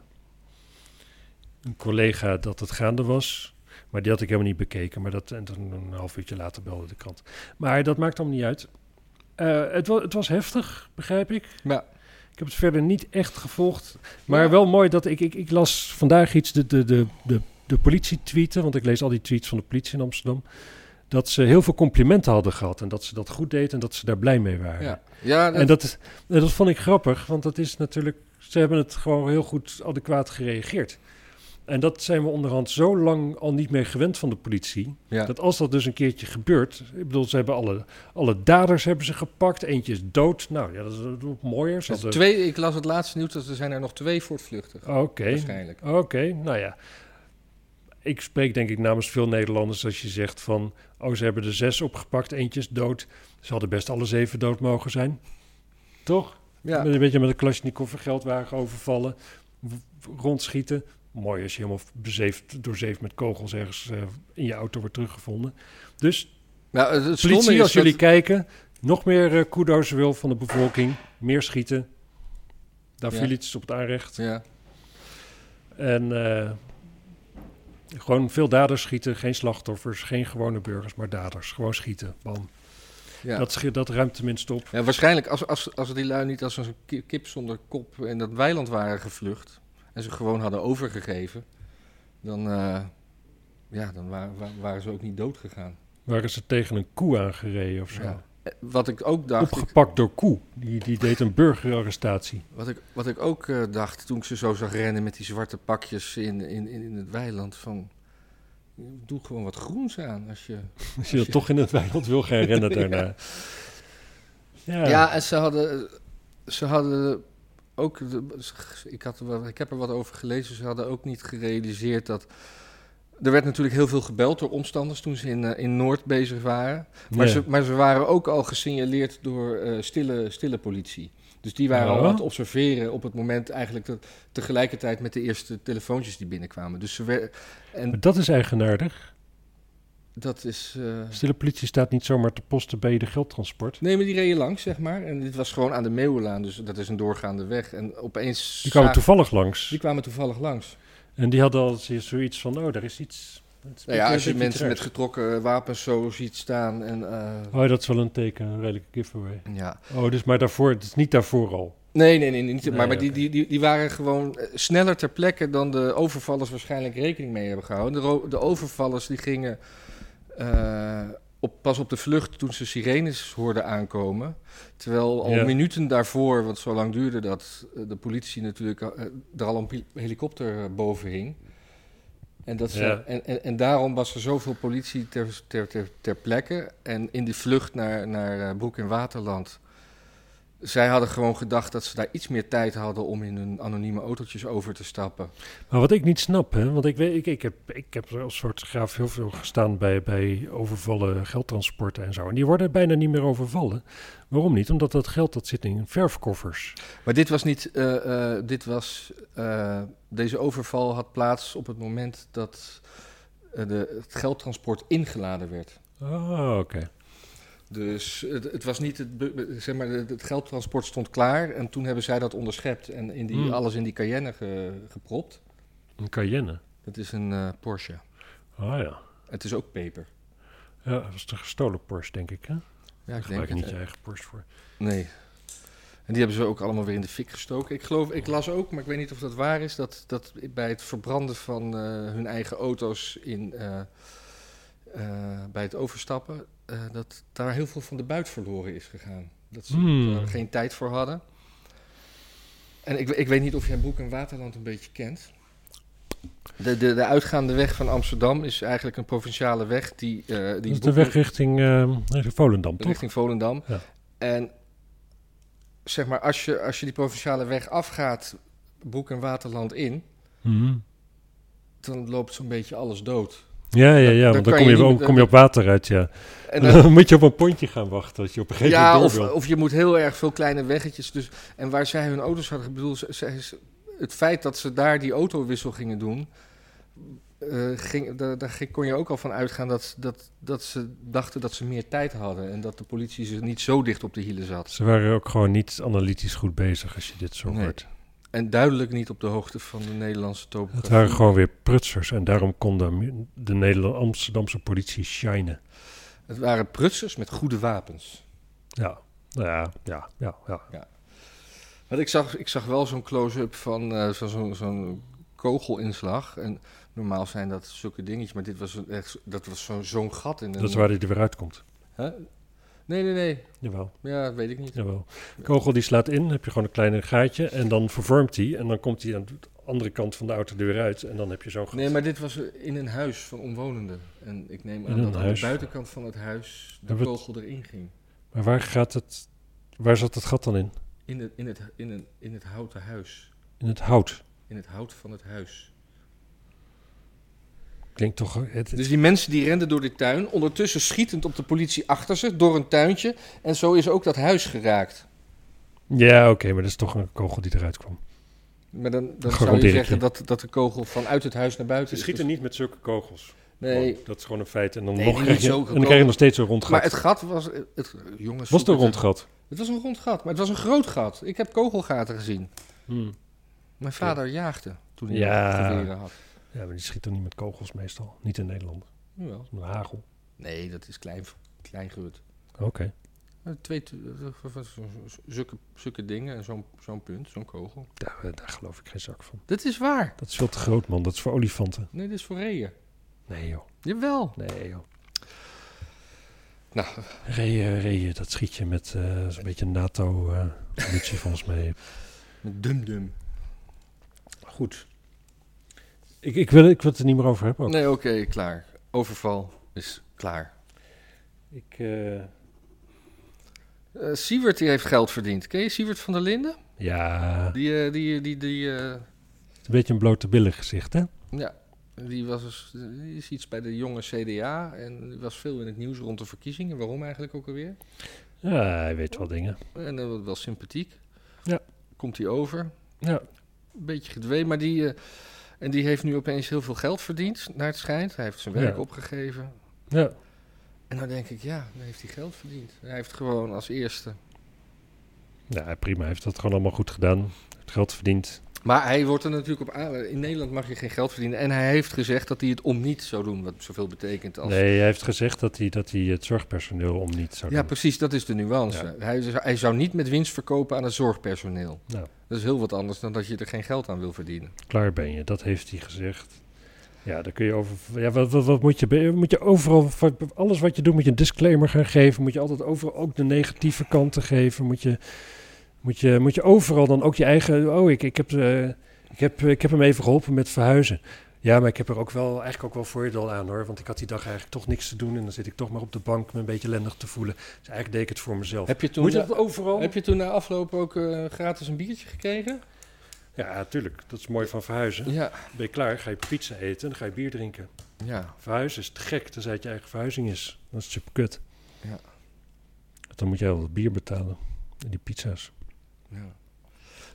A: een collega dat het gaande was. Maar die had ik helemaal niet bekeken. Maar dat, en toen een half uurtje later belde de krant. Maar dat maakt allemaal niet uit. Eh, het, was, het was heftig, begrijp ik.
B: Ja.
A: Ik heb het verder niet echt gevolgd. Maar
B: Ja.
A: wel mooi dat ik, ik... Ik las vandaag iets, de, de, de, de, de politie tweeten... want ik lees al die tweets van de politie in Amsterdam... dat ze heel veel complimenten hadden gehad... en dat ze dat goed deed en dat ze daar blij mee waren.
B: Ja, ja dat-
A: En dat, is, en dat vond ik grappig, want dat is natuurlijk, ze hebben het gewoon heel goed adequaat gereageerd. En dat zijn we onderhand zo lang al niet meer gewend van de politie.
B: ja.
A: Dat als dat dus een keertje gebeurt. Ik bedoel, ze hebben alle, alle daders hebben ze gepakt. Eentje is dood. Nou ja, dat is dat is ook mooier. Ze
B: Dus
A: hadden- Ah,
B: twee, ik las het laatste nieuws dat er zijn er nog twee voortvluchtig.
A: Oké,
B: Waarschijnlijk.
A: Oké, nou ja. Ik spreek denk ik namens veel Nederlanders als je zegt van... oh, ze hebben er zes opgepakt, eentje is dood. Ze hadden best alle zeven dood mogen zijn. Toch?
B: Ja.
A: Met een beetje met een Kalashnikov een geldwagen overvallen, w- rondschieten. Mooi als je helemaal bezeefd, doorzeefd met kogels ergens eh, in je auto wordt teruggevonden. Dus
B: Nou, het, het stomme
A: politie,
B: is
A: als jullie
B: dat-
A: kijken, nog meer eh kudo's wil van de bevolking. Meer schieten. Daar
B: Ja.
A: viel iets op het aanrecht.
B: Ja.
A: En eh, gewoon veel daders schieten, geen slachtoffers, geen gewone burgers, maar daders. Gewoon schieten, bam.
B: Ja.
A: Dat, schi- dat ruimt tenminste op.
B: Ja, waarschijnlijk als, als, als die lui niet als een ki- kip zonder kop in dat weiland waren gevlucht en ze gewoon hadden overgegeven, dan, eh, ja, dan wa- wa- waren ze ook niet dood gegaan.
A: Waar is ze tegen een koe aangereden of zo?
B: Ja. Eh, Wat ik ook dacht, ik-
A: Opgepakt door koe. Die, die deed een burgerarrestatie.
B: wat ik, wat ik ook eh, dacht toen ik ze zo zag rennen met die zwarte pakjes in, in, in, in het weiland, van doe gewoon wat groens aan. Als je...
A: Als je dat toch in het weiland wil gaan
B: [LAUGHS]
A: rennen daarna. Ja.
B: ja. en ze hadden, ze hadden ook, de- ze- ik, had er wat, ik heb er wat over gelezen, ze hadden ook niet gerealiseerd dat... Er werd natuurlijk heel veel gebeld door omstanders toen ze in, eh, in Noord bezig waren. Maar,
A: Ja.
B: ze, maar ze waren ook al gesignaleerd door eh, stille, stille politie. Dus die waren al
A: Oh.
B: aan het observeren op het moment eigenlijk dat, tegelijkertijd met de eerste telefoontjes die binnenkwamen. Dus ze wer- en
A: Maar dat is eigenaardig.
B: dat is. eh,
A: Stille politie staat niet zomaar te posten bij de geldtransport.
B: Nee, maar die reden langs, zeg maar. En dit was gewoon aan de Meeuwenlaan, dus dat is een doorgaande weg. En opeens.
A: Die kwamen
B: zagen-
A: toevallig langs.
B: die kwamen toevallig langs.
A: En die hadden al z- zoiets van, oh, daar is iets. Het is
B: Nou ja, als je
A: iets
B: mensen met
A: raars.
B: getrokken wapens zo ziet staan. En, eh,
A: Oh, dat is wel een teken, een redelijke giveaway.
B: ja.
A: Oh, dus maar daarvoor, het is niet daarvoor al.
B: Nee, nee, nee, niet,
A: Nee,
B: maar, maar die,
A: oké.
B: die, die, die waren gewoon eh, sneller ter plekke dan de overvallers waarschijnlijk rekening mee hebben gehouden. De, ro- de overvallers die gingen eh, op, pas op de vlucht toen ze sirenes hoorden aankomen. Terwijl al
A: Ja.
B: minuten daarvoor, want zo lang duurde dat, eh, de politie natuurlijk eh, er al een pil- helikopter eh, boven hing. En, dat ze,
A: Ja.
B: en, en, en daarom was er zoveel politie ter, ter, ter, ter plekke. En in die vlucht naar, naar eh, Broek in Waterland. Zij hadden gewoon gedacht dat ze daar iets meer tijd hadden om in hun anonieme autootjes over te stappen.
A: Maar wat ik niet snap, hè, want ik, weet, ik, ik, heb, ik heb als soort graaf heel veel gestaan bij, bij overvallen geldtransporten en zo. En die worden bijna niet meer overvallen. Waarom niet? Omdat dat geld dat zit in verfkoffers.
B: Maar dit was niet. eh, eh, dit was, eh, deze overval had plaats op het moment dat eh, de, het geldtransport ingeladen werd.
A: Oh, oké.
B: Dus het, het was niet het, be- be- zeg maar, het het geldtransport stond klaar en toen hebben zij dat onderschept en in die,
A: Hmm.
B: alles in die Cayenne ge- gepropt.
A: Een Cayenne.
B: Dat is een eh, Porsche.
A: Ah ja.
B: Het is ook peper.
A: Ja, dat is de gestolen Porsche, denk ik. Hè?
B: Ja,
A: Daar
B: ik denk
A: gebruik je niet
B: het. eh.
A: je eigen Porsche voor.
B: Nee. En die hebben ze ook allemaal weer in de fik gestoken. Ik geloof, ik las ook, maar ik weet niet of dat waar is, dat, dat bij het verbranden van eh, hun eigen auto's in, eh, eh, bij het overstappen, eh, dat daar heel veel van de buit verloren is gegaan. Dat ze
A: Hmm.
B: er geen tijd voor hadden. En ik, ik weet niet of jij Broek en Waterland een beetje kent. De, de, de uitgaande weg van Amsterdam is eigenlijk een provinciale weg die... eh, die
A: Dat is de
B: Broek-
A: weg richting eh, Volendam, toch?
B: richting Volendam.
A: Ja.
B: En zeg maar, als je, als je die provinciale weg afgaat, Broek en Waterland in,
A: Mhm.
B: dan loopt zo'n beetje alles dood.
A: Ja, ja,
B: Dan-
A: ja,
B: dan
A: want dan,
B: kan
A: kom, je,
B: je niet
A: wel-
B: met-
A: kom je op water uit, ja. [LAUGHS]
B: En
A: dan,
B: dan-
A: moet je op een pontje gaan wachten als je op een gegeven
B: ja,
A: moment
B: of,
A: door wil.
B: of je moet heel erg veel kleine weggetjes. Dus, en waar zij hun auto's hadden, ik bedoel, ze- ze- het feit dat ze daar die autowissel gingen doen, eh, ging, daar, daar ging- kon je ook al van uitgaan dat, dat, dat ze dachten dat ze meer tijd hadden en dat de politie ze niet zo dicht op de hielen zat.
A: Ze waren ook gewoon niet analytisch goed bezig als je dit zo
B: Nee.
A: hoort.
B: En duidelijk niet op de hoogte van de Nederlandse
A: Het
B: topografie.
A: waren gewoon weer prutsers en daarom kon de, de Nederland Amsterdamse politie shinen.
B: Het waren prutsers met goede wapens.
A: Ja, nou ja, ja, ja. ja.
B: Want ik zag, ik zag wel zo'n close-up van eh, van zo'n zo'n kogelinslag. En normaal zijn dat zulke dingetjes, maar dit was een echt, dat was zo'n zo'n gat in een...
A: Dat is waar hij er weer uitkomt.
B: Hè? Nee, nee, nee.
A: Jawel,
B: Ja, weet ik niet.
A: jawel. Kogel die slaat in, heb je gewoon een klein gaatje en dan vervormt hij en dan komt hij aan de andere kant van de auto er weer uit en dan heb je zo'n gat.
B: Nee, maar dit was in een huis van omwonenden. En ik neem
A: In
B: aan
A: een
B: dat aan de
A: huis.
B: buitenkant van het huis de
A: Hebben we
B: kogel erin ging.
A: Maar waar gaat het, waar zat het gat dan in?
B: In het, in, het, in, een, in het houten huis.
A: In het hout.
B: In het hout van het huis.
A: Ik denk toch, eh, het,
B: Dus die mensen die renden door de tuin, ondertussen schietend op de politie achter ze, door een tuintje. En zo is ook dat huis geraakt.
A: Ja, oké, maar dat is toch een kogel die eruit kwam.
B: Maar dan, dan zou
A: Garandeer
B: je
A: ik
B: zeggen
A: je.
B: dat, dat de kogel vanuit het huis naar
A: Ze
B: buiten is. Dus-
A: schieten niet met zulke kogels.
B: Nee,
A: Gewoon, dat is gewoon een feit. En dan,
B: Nee,
A: nog
B: niet
A: krijg, je,
B: zulke
A: en dan
B: kogels.
A: krijg je nog steeds zo'n rond gat.
B: maar het gat was... Het, jongens,
A: was
B: zoek
A: het een
B: het
A: rond
B: even.
A: gat?
B: Het was een rond gat, maar het was een groot gat. Ik heb kogelgaten gezien.
A: Hmm.
B: Mijn vader jaagde toen hij
A: Ja.
B: geweren had.
A: Ja, maar die schieten niet met kogels meestal. Niet in Nederland.
B: Jawel.
A: Een hagel.
B: Nee, dat is klein, klein gebeurd.
A: Oké.
B: Eh, Twee t- eh, z- z- zulke, zulke dingen, en zo'n zo'n punt, zo'n kogel.
A: Daar, eh, daar geloof ik geen zak van.
B: Dat is waar.
A: Dat is veel te groot, man. Dat is voor olifanten.
B: Nee, dit is voor reeën.
A: Nee, joh.
B: Jawel.
A: Nee, joh.
B: Nou,
A: Reeën, reeën, dat schiet eh, je met eh, zo'n beetje NATO-munitie [LAUGHS] volgens mij.
B: met dum-dum.
A: Goed. Ik, ik, wil, ik wil het er niet meer over hebben. ook.
B: Nee, oké, klaar. Overval is klaar.
A: Ik, eh,
B: Eh Siewert die heeft geld verdiend. Ken je Siewert van der Linden?
A: ja, het
B: Die, eh, die, die, die, eh,
A: is een beetje een blote billen gezicht, hè?
B: ja, die, was, dus- die is iets bij de jonge CDA en die was veel in het nieuws rond de verkiezingen. Waarom eigenlijk ook alweer?
A: Ja, hij weet wel dingen.
B: En dat was wel sympathiek.
A: Ja.
B: Komt hij over.
A: Ja.
B: Een beetje gedwee, maar die... eh, en die heeft nu opeens heel veel geld verdiend, naar het schijnt. Hij heeft zijn werk
A: Ja.
B: opgegeven.
A: Ja,
B: En dan denk ik, ja, dan heeft hij geld verdiend. Hij heeft gewoon als eerste.
A: ja prima. Hij heeft dat gewoon allemaal goed gedaan. Hij heeft geld verdiend.
B: Maar hij wordt er natuurlijk op aan. In Nederland mag je geen geld verdienen. En hij heeft gezegd dat hij het om niet zou doen, wat zoveel betekent als...
A: Nee, hij heeft gezegd dat hij, dat hij het zorgpersoneel om niet zou
B: Ja,
A: doen.
B: precies, dat is de nuance. Hij, zou- hij zou niet met winst verkopen aan het zorgpersoneel.
A: Nou.
B: Dat is heel wat anders dan dat je er geen geld aan wil verdienen.
A: Klaar ben je, dat heeft hij gezegd. Ja, daar kun je over. Ja, wat, wat, wat moet je. be- Moet je overal. voor- Alles wat je doet, moet je een disclaimer gaan geven. Moet je altijd overal ook de negatieve kanten geven. Moet je. Moet je, moet je overal dan ook je eigen. Oh, ik, ik, heb, eh, ik, heb, ik heb hem even geholpen met verhuizen. Ja, maar ik heb er ook wel, eigenlijk ook wel voordeel aan hoor. Want ik had die dag eigenlijk toch niks te doen. En dan zit ik toch maar op de bank me een beetje lendig te voelen. Dus eigenlijk deed ik het voor mezelf.
B: Heb je toen, eh,
A: moet je dat overal?
B: heb je toen na afloop ook eh, gratis een biertje gekregen?
A: Ja, tuurlijk. Dat is mooi van verhuizen.
B: Ja.
A: Ben je klaar, ga je pizza eten en dan ga je bier drinken.
B: Ja,
A: Verhuizen is te gek, tenzij het je eigen verhuizing is. Dat is super kut.
B: Ja.
A: Want Dan moet jij wel het bier betalen. En die pizza's.
B: ja.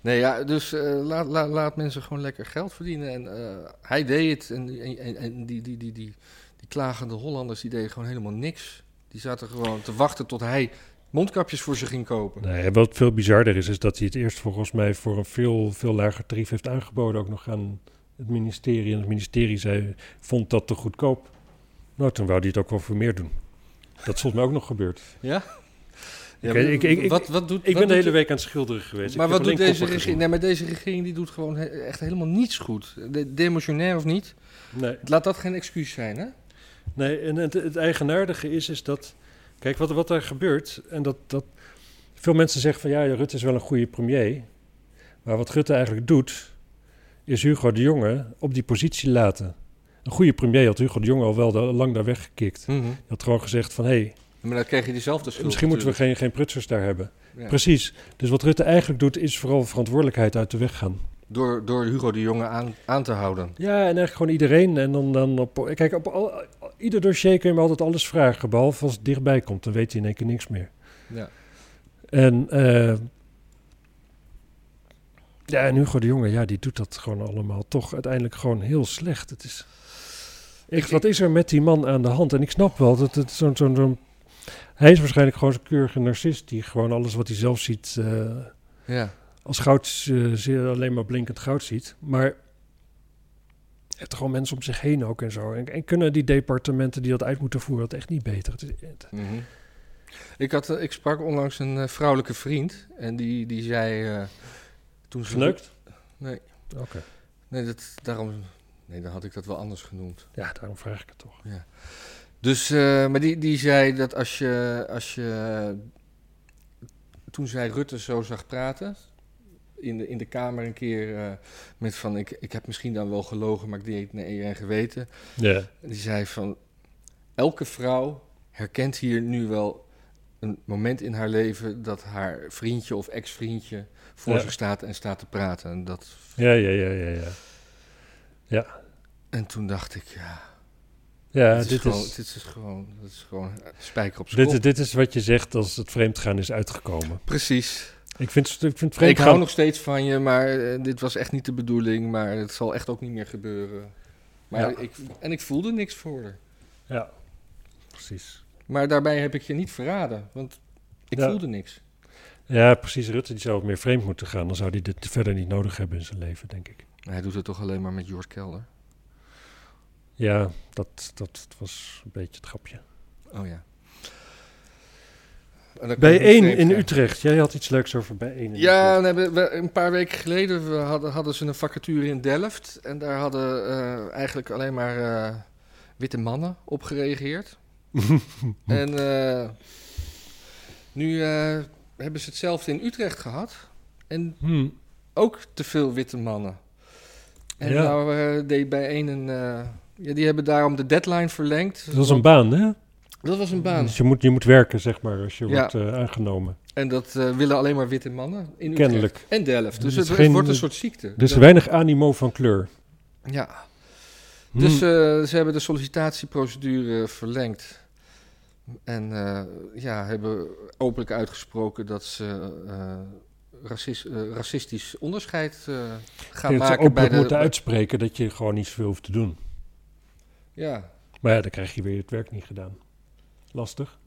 B: Nee, ja, dus eh, laat, laat, laat mensen gewoon lekker geld verdienen. En eh, hij deed het. En, en, en- en die, die, die, die, die klagende Hollanders, die deden gewoon helemaal niks. Die zaten gewoon te wachten tot hij mondkapjes voor ze ging kopen.
A: Nee, wat veel bizarder is, is dat hij het eerst volgens mij voor een veel, veel lager tarief heeft aangeboden. Ook nog aan het ministerie. En het ministerie zei, vond dat te goedkoop. Nou, toen wou hij het ook wel voor meer doen. Dat is volgens mij ook nog gebeurd.
B: Ja?
A: Ik weet- ik- ik- ik-
B: wat, wat doet,
A: Ik
B: wat
A: ben de
B: doet-
A: hele week aan het schilderen geweest.
B: Maar
A: Ik heb
B: wat doet
A: alleen
B: deze
A: koppen
B: regering? Nee, maar deze regering die doet gewoon he- echt helemaal niets goed. De, demissionair of niet,
A: gezien. Nee.
B: laat dat geen excuus zijn, hè?
A: Nee, en het, het eigenaardige is, is dat... Kijk, wat, wat er gebeurt... en dat, dat veel mensen zeggen van... ja, Rutte is wel een goede premier. Maar wat Rutte eigenlijk doet... is Hugo de Jonge op die positie laten. Een goede premier had Hugo de Jonge al wel da- lang daar weggekikt. Hij had gewoon gezegd van... hé, hey,
B: Maar dan krijg je diezelfde schuld.
A: Mhm. misschien moeten we geen, geen prutsers daar hebben.
B: Ja.
A: Precies. Dus wat Rutte eigenlijk doet... is vooral verantwoordelijkheid uit de weg gaan.
B: Door, door Hugo de Jonge aan, aan te houden.
A: Ja, en eigenlijk gewoon iedereen. En dan, dan op, kijk, op al, ieder dossier kun je me altijd alles vragen. Behalve als het dichtbij komt, dan weet hij in één keer niks meer.
B: Ja.
A: En, eh, ja, en Hugo de Jonge, ja, die doet dat gewoon allemaal toch uiteindelijk gewoon heel slecht. Het is, echt, wat is er met die man aan de hand? En ik snap wel dat het zo'n... zo'n zo'n- hij is waarschijnlijk gewoon zo'n keurige narcist die gewoon alles wat hij zelf ziet... eh,
B: Ja.
A: als goud eh, zeer alleen maar blinkend goud ziet. Maar hij heeft er gewoon mensen om zich heen ook en zo. En, en kunnen die departementen die dat uit moeten voeren dat echt niet beter? Het is- het-
B: Mhm. Ik, had, eh, ik sprak onlangs een eh, vrouwelijke vriend. En die, die zei. eh, toen ze
A: Geneukt?
B: Nee.
A: Oké.
B: Nee, dat, daarom, nee, dan had ik dat wel anders genoemd.
A: Ja, daarom vraag ik het toch.
B: Dus, eh, maar die, die zei dat als je, als je. Toen zij Rutte zo zag praten. In de, in de Kamer een keer eh, met van: ik, ik heb misschien dan wel gelogen, maar ik deed het naar eer en geweten.
A: Ja.
B: En Die zei van: Elke vrouw herkent hier nu wel een moment in haar leven. dat haar vriendje of ex-vriendje voor
A: Ja.
B: zich staat en staat te praten. En, dat,
A: Ja, ja, ja, ja, ja.
B: en toen dacht ik: ja,
A: Ja,
B: dit, is gewoon,
A: dit,
B: dit is gewoon. Dit is gewoon eh, spijker op zijn
A: dit,
B: kop.
A: dit is wat je zegt als het vreemdgaan is uitgekomen.
B: Precies.
A: Ik vind, ik vind het vreemd
B: Ik hou
A: gaan.
B: nog steeds van je, maar eh, dit was echt niet de bedoeling. Maar het zal echt ook niet meer gebeuren. Maar
A: Ja.
B: ik, en ik voelde niks voor haar.
A: Ja, precies.
B: Maar daarbij heb ik je niet verraden, want ik
A: Ja.
B: voelde niks.
A: Ja, precies. Rutte die zou wat meer vreemd moeten gaan. Dan zou hij dit verder niet nodig hebben in zijn leven, denk ik.
B: Hij doet het toch alleen maar met Jort Kelder?
A: Ja, dat, dat was een beetje het grapje.
B: Oh ja. En dan
A: Bij
B: komt het
A: 1 in
B: even-
A: Utrecht. Jij had iets leuks over bij 1 in
B: Ja,
A: Utrecht.
B: nee, we- we- een paar weken geleden we hadden, hadden ze een vacature in Delft. En daar hadden eh, eigenlijk alleen maar eh, witte mannen
A: [LAUGHS]
B: op gereageerd. en eh, nu eh, hebben ze hetzelfde in Utrecht gehad. En
A: Hm.
B: ook te veel witte mannen. En
A: Ja.
B: nou eh, deed bij een een... eh, ja, die hebben daarom de deadline verlengd.
A: Dat was een baan, hè?
B: Dat was een baan.
A: Dus je moet, je moet werken, zeg maar, als je
B: Ja.
A: wordt eh, aangenomen.
B: En dat eh, willen alleen maar witte mannen in Utrecht.
A: Kennelijk.
B: En Delft. Dus
A: Er
B: het,
A: is
B: het
A: geen- dus
B: wordt een soort ziekte.
A: Er is
B: Dat-
A: weinig animo van kleur.
B: Ja.
A: Hm.
B: Dus eh, ze hebben de sollicitatieprocedure verlengd. En eh, ja, hebben openlijk uitgesproken dat ze eh, racis- eh, racistisch onderscheid eh,
A: Ik
B: gaan
A: denk dat ze
B: maken bij
A: openlijk
B: de.
A: moeten uitspreken dat je gewoon niet zoveel hoeft te doen.
B: Ja.
A: Maar ja, dan krijg je weer het werk niet gedaan. Lastig.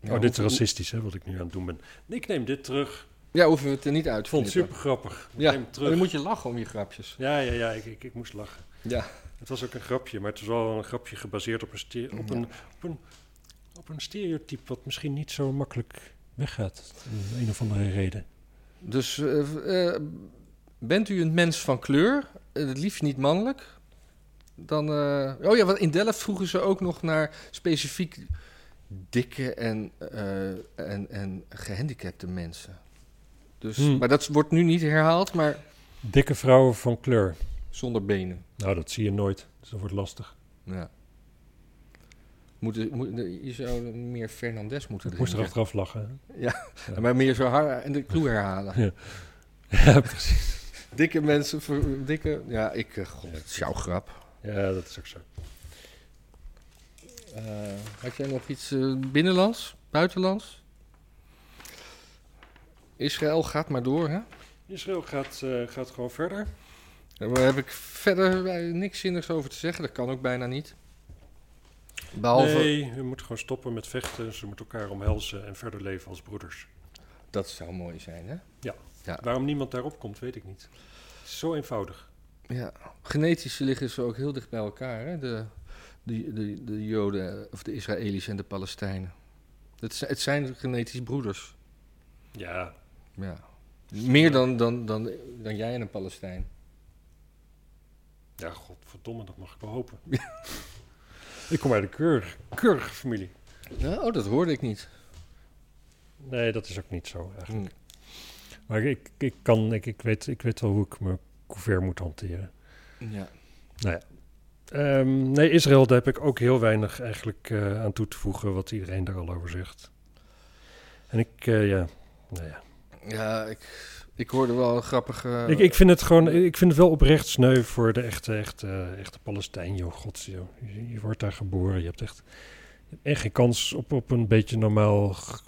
B: Ja,
A: oh, dit is
B: hoe-
A: racistisch, hè, wat ik nu aan het doen ben. Ik neem dit terug.
B: Ja, hoeven we het er niet uit
A: Ik
B: te
A: vond het
B: knippen.
A: super grappig. Ik
B: Ja,
A: neem het
B: maar
A: terug.
B: dan moet je lachen om je grapjes.
A: Ja, ja, ja, ik, ik, ik moest lachen.
B: Ja.
A: Het was ook een grapje, maar het was wel een grapje gebaseerd op een, stere- op
B: Ja.
A: een, op een, op een stereotype wat misschien niet zo makkelijk weggaat. Om een of andere reden.
B: Dus eh, eh, bent u een mens van kleur, eh, het liefst niet mannelijk? Dan, eh, oh ja, want in Delft vroegen ze ook nog naar specifiek dikke en, eh, en, en gehandicapte mensen. Dus,
A: Hmm.
B: Maar dat wordt nu niet herhaald, maar
A: Dikke vrouwen van kleur.
B: zonder benen.
A: Nou, dat zie je nooit. Dus dat wordt lastig.
B: Ja. Moet, moet, je zou meer Fernandes moeten
A: Ik moest er
B: drinken.
A: achteraf lachen.
B: Maar meer zo hard en de clue herhalen.
A: hè. Ja, precies.
B: Dikke mensen, voor- dikke... Ja, ik... eh, God, het is jouw grap.
A: Ja, dat is ook zo.
B: Eh, had jij nog iets eh, binnenlands, buitenlands? Israël gaat maar door, hè?
A: Israël gaat, eh, gaat gewoon verder.
B: Daar heb ik verder eh, niks zinnigs over te zeggen. Dat kan ook bijna niet. Behalve,
A: Nee, we moeten gewoon stoppen met vechten. Ze moeten elkaar omhelzen en verder leven als broeders.
B: dat zou mooi zijn, hè?
A: Waarom niemand daarop komt, weet ik niet. Het is zo eenvoudig.
B: Ja. Genetisch liggen ze ook heel dicht bij elkaar, hè? De, de, de, de Joden, eh, of de Israëli's en de Palestijnen. Het, zi- het zijn genetisch broeders.
A: Ja,
B: Ja. Meer dan, dan, dan, dan jij en een Palestijn.
A: ja godverdomme, dat mag ik wel hopen. [LAUGHS] ik kom uit een keurige, keurige familie.
B: Nou, oh, dat hoorde ik niet.
A: Nee, dat is ook niet zo eigenlijk.
B: Hm.
A: Maar ik, ik, kan, ik, ik, weet, ik weet wel hoe ik mijn couvert moet hanteren.
B: Ja.
A: Ehm, nee, Israël, daar heb ik ook heel weinig eigenlijk eh, aan toe te voegen wat iedereen daar al over zegt. En ik, eh, ja, nou ja.
B: Ja, ik, ik hoorde wel een grappige...
A: ik, ik vind het gewoon, ik vind het wel oprecht sneu voor de echte, echte, echte Palestijn, joh, god, joh. Je, je wordt daar geboren, je hebt echt, je hebt echt geen kans op, op een beetje normaal, g-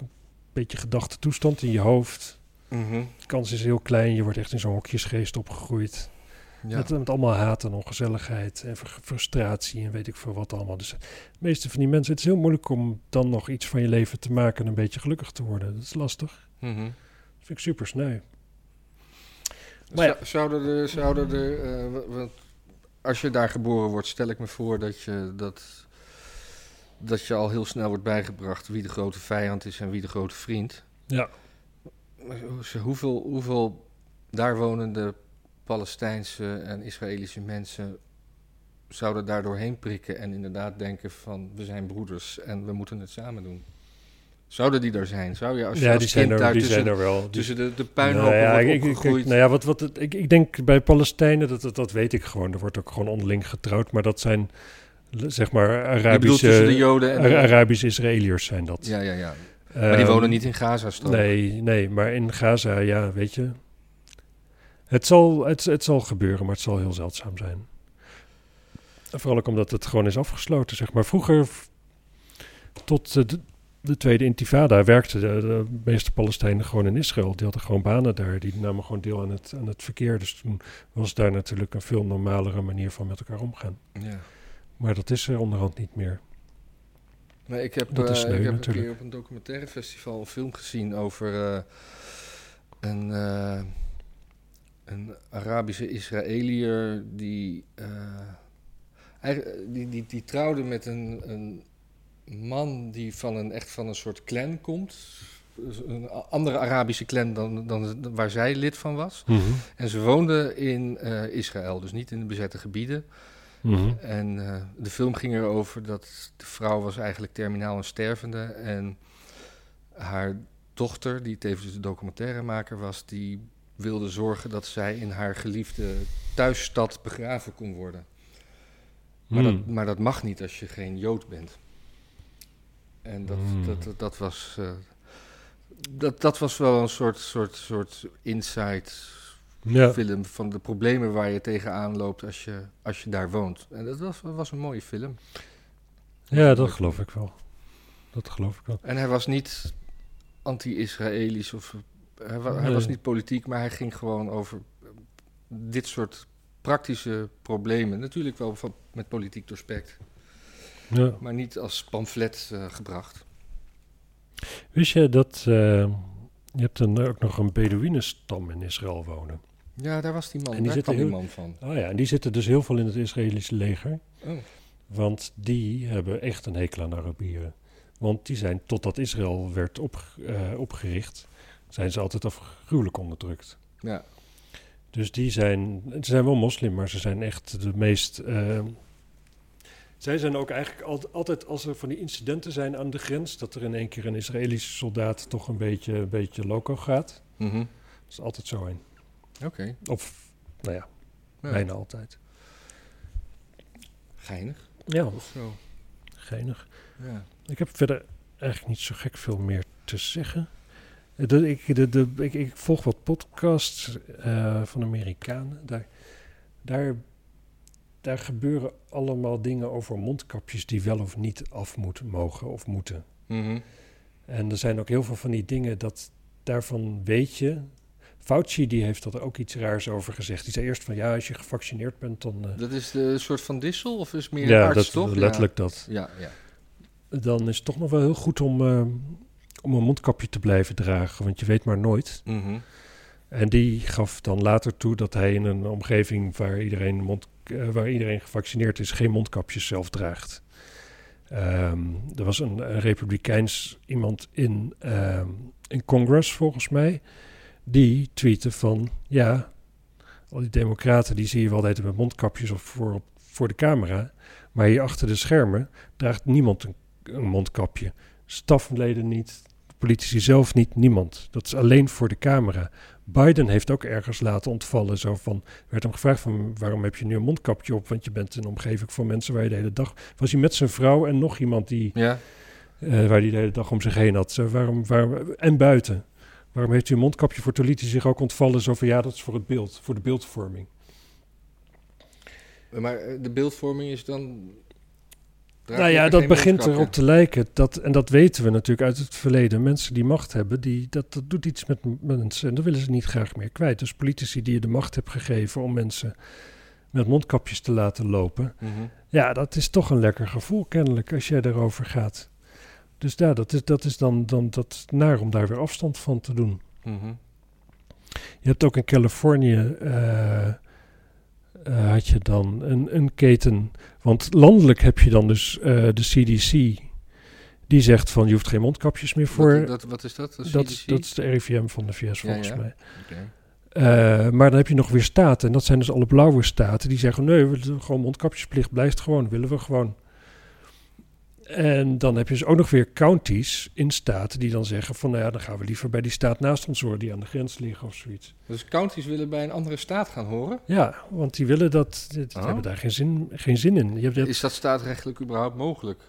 A: beetje gedachte toestand in je hoofd.
B: Mhm,
A: De kans is heel klein, je wordt echt in zo'n hokjesgeest opgegroeid.
B: ja.
A: Met, met allemaal haat en ongezelligheid en fr- frustratie en weet ik veel wat allemaal. Dus de meeste van die mensen, het is heel moeilijk om dan nog iets van je leven te maken en een beetje gelukkig te worden. Dat is lastig.
B: mhm.
A: Dat vind ik super sneu. Maar
B: Zou- Zouden er... Zouden er eh, wa- want als je daar geboren wordt, stel ik me voor dat je, dat, dat je al heel snel wordt bijgebracht... wie de grote vijand is en wie de grote vriend.
A: Ja.
B: Maar hoe- ze- Hoeveel, hoeveel daar wonende Palestijnse en Israëlische mensen zouden daar doorheen prikken... en inderdaad denken van, we zijn broeders en we moeten het samen doen? Zouden die daar zijn? Zou je als je
A: ja,
B: als
A: die
B: kind
A: zijn, er,
B: daar
A: die
B: tussen
A: zijn er wel. Die-
B: tussen de, de puinhopen
A: Nou ja,
B: wordt
A: ik, ik,
B: opgegroeid.
A: ik, nou ja, wat, wat, het- ik, ik denk bij Palestijnen, dat, dat, dat weet ik gewoon. Er wordt ook gewoon onderling getrouwd. Maar dat zijn, l- zeg maar,
B: je bedoelt tussen de
A: Arabische...
B: Joden en de...
A: Ara- Arabische Israëliërs zijn dat.
B: ja, ja, ja. Maar die
A: Ehm,
B: wonen niet in Gaza-strook.
A: Nee, nee, maar in Gaza, ja, weet je. Het zal, het, het zal gebeuren, maar het zal heel zeldzaam zijn. En Vooral ook omdat het gewoon is afgesloten, zeg maar. Vroeger, v- tot eh, de- de Tweede Intifada werkten de, de meeste Palestijnen gewoon in Israël. Die hadden gewoon banen daar. Die namen gewoon deel aan het, aan het verkeer. Dus toen was daar natuurlijk een veel normalere manier van met elkaar omgaan.
B: Ja.
A: Maar dat is er onderhand niet meer.
B: Nee, ik heb,
A: Dat
B: eh,
A: is sneu
B: ik heb een
A: natuurlijk.
B: keer op een documentaire festival een film gezien over eh, een, eh, een Arabische Israëliër die, eh, eigenlijk- die, die, die trouwde met een, een man die van een, echt van een soort clan komt. Dus Een a- andere Arabische clan dan, dan waar zij lid van was. En ze woonden in eh, Israël, dus niet in de bezette gebieden.
A: Mhm.
B: En eh, de film ging erover dat de vrouw was eigenlijk terminaal een stervende. En haar dochter, die tevens de documentairemaker was, die wilde zorgen dat zij in haar geliefde thuisstad begraven kon worden. Maar,
A: Hmm.
B: dat, maar dat mag niet als je geen Jood bent. En dat,
A: Hmm.
B: dat, dat, dat was. eh, dat, dat was wel een soort, soort, soort insight
A: Ja.
B: film van de problemen waar je tegenaan loopt als je, als je daar woont. En dat was, was een mooie film.
A: ja, dat geloof ik wel. Dat geloof ik wel.
B: En hij was niet anti-Israëlisch of hij, wa- hij
A: Nee.
B: was niet politiek, maar hij ging gewoon over eh, dit soort praktische problemen. Natuurlijk wel van, met politiek doorspekt,
A: Ja.
B: maar niet als pamflet eh, gebracht.
A: Wist je dat eh, je hebt een, ook nog een Bedouinenstam in Israël wonen?
B: Ja, daar was die man.
A: En die
B: daar
A: zitten
B: kwam die
A: heel-
B: man van.
A: Oh ja, en die zitten dus heel veel in het Israëlische leger.
B: Oh,
A: Want die hebben echt een hekel aan Arabieren. Want die zijn, totdat Israël werd opge- eh, opgericht, zijn ze altijd afgruwelijk onderdrukt.
B: ja.
A: Dus die zijn, ze zijn wel moslim, maar ze zijn echt de meest... eh, zij zijn ook eigenlijk al- altijd, als er van die incidenten zijn aan de grens, dat er in één keer een Israëlische soldaat toch een beetje, een beetje loco gaat.
B: Mhm.
A: Dat is altijd zo een.
B: Oké.
A: Of, nou ja,
B: Ja.
A: bijna altijd.
B: Geinig
A: Ja,
B: of zo.
A: geinig.
B: Ja.
A: Ik heb verder eigenlijk niet zo gek veel meer te zeggen. Eh, dat ik, de, de, ik, ik volg wat podcasts eh, van Amerikanen. Daar, daar, daar gebeuren allemaal dingen over mondkapjes die wel of niet af moeten, mogen of moeten.
B: Mhm.
A: En er zijn ook heel veel van die dingen dat daarvan weet je. Fauci die heeft dat ook iets raars over gezegd. Die zei eerst van ja, als je gevaccineerd bent dan. eh,
B: Dat is de soort van dissel of is meer een
A: ja,
B: arts,
A: dat,
B: toch?
A: letterlijk dat.
B: Ja, ja. ja.
A: dan is het toch nog wel heel goed om, eh, om een mondkapje te blijven dragen, want je weet maar nooit.
B: Mhm.
A: En die gaf dan later toe dat hij in een omgeving waar iedereen, mond, eh, waar iedereen gevaccineerd is, geen mondkapjes zelf draagt. Ehm, er was een, een republikeins iemand in, ehm, in Congress, volgens mij, die tweette van, ja, al die democraten die zie je wel altijd met mondkapjes of voor, op- voor de camera, maar hier achter de schermen draagt niemand een, een mondkapje. Stafleden niet, politici zelf niet, niemand. Dat is alleen voor de camera. Biden heeft ook ergens laten ontvallen. Zo van, werd hem gevraagd van waarom heb je nu een mondkapje op? Want je bent in een omgeving van mensen waar je de hele dag... Was hij met zijn vrouw en nog iemand die,
B: ja.
A: eh, waar hij de hele dag om zich heen had. Zo, waarom, waarom, en buiten. Waarom heeft u een mondkapje voor toen liet hij zich ook ontvallen? Zo van ja, dat is voor het beeld, voor de beeldvorming.
B: Maar eh, de beeldvorming is dan. draag
A: nou
B: je
A: ja,
B: geen
A: dat begint
B: mondkapje.
A: erop te lijken. Dat, en dat weten we natuurlijk uit het verleden. Mensen die macht hebben, die, dat, dat doet iets met m- mensen. En dat willen ze niet graag meer kwijt. Dus politici die je de macht hebt gegeven om mensen met mondkapjes te laten lopen.
B: Mhm.
A: Ja, dat is toch een lekker gevoel kennelijk als jij daarover gaat. Dus ja, dat is, dat is dan, dan dat is naar om daar weer afstand van te doen.
B: Mhm.
A: Je hebt ook in Californië. eh, eh, had je dan een, een keten. Want landelijk heb je dan dus eh, de CDC. Die zegt van je hoeft geen mondkapjes meer voor.
B: Wat,
A: dat,
B: dat, wat is dat? De
A: dat,
B: CDC?
A: is de RIVM van de VS
B: Ja,
A: volgens
B: ja.
A: mij.
B: Oké.
A: Eh, maar dan heb je nog weer staten. En dat zijn dus alle blauwe staten. Die zeggen nee, we doen gewoon mondkapjesplicht blijft gewoon. Willen we gewoon. En dan heb je dus ook nog weer counties in staten die dan zeggen van nou ja, dan gaan we liever bij die staat naast ons horen die aan de grens liggen of zoiets.
B: Dus counties willen bij een andere staat gaan horen.
A: Ja, want die willen dat. Die, die
B: Oh.
A: hebben daar geen zin, geen zin in. Je hebt, dat-
B: Is dat staatrechtelijk überhaupt mogelijk?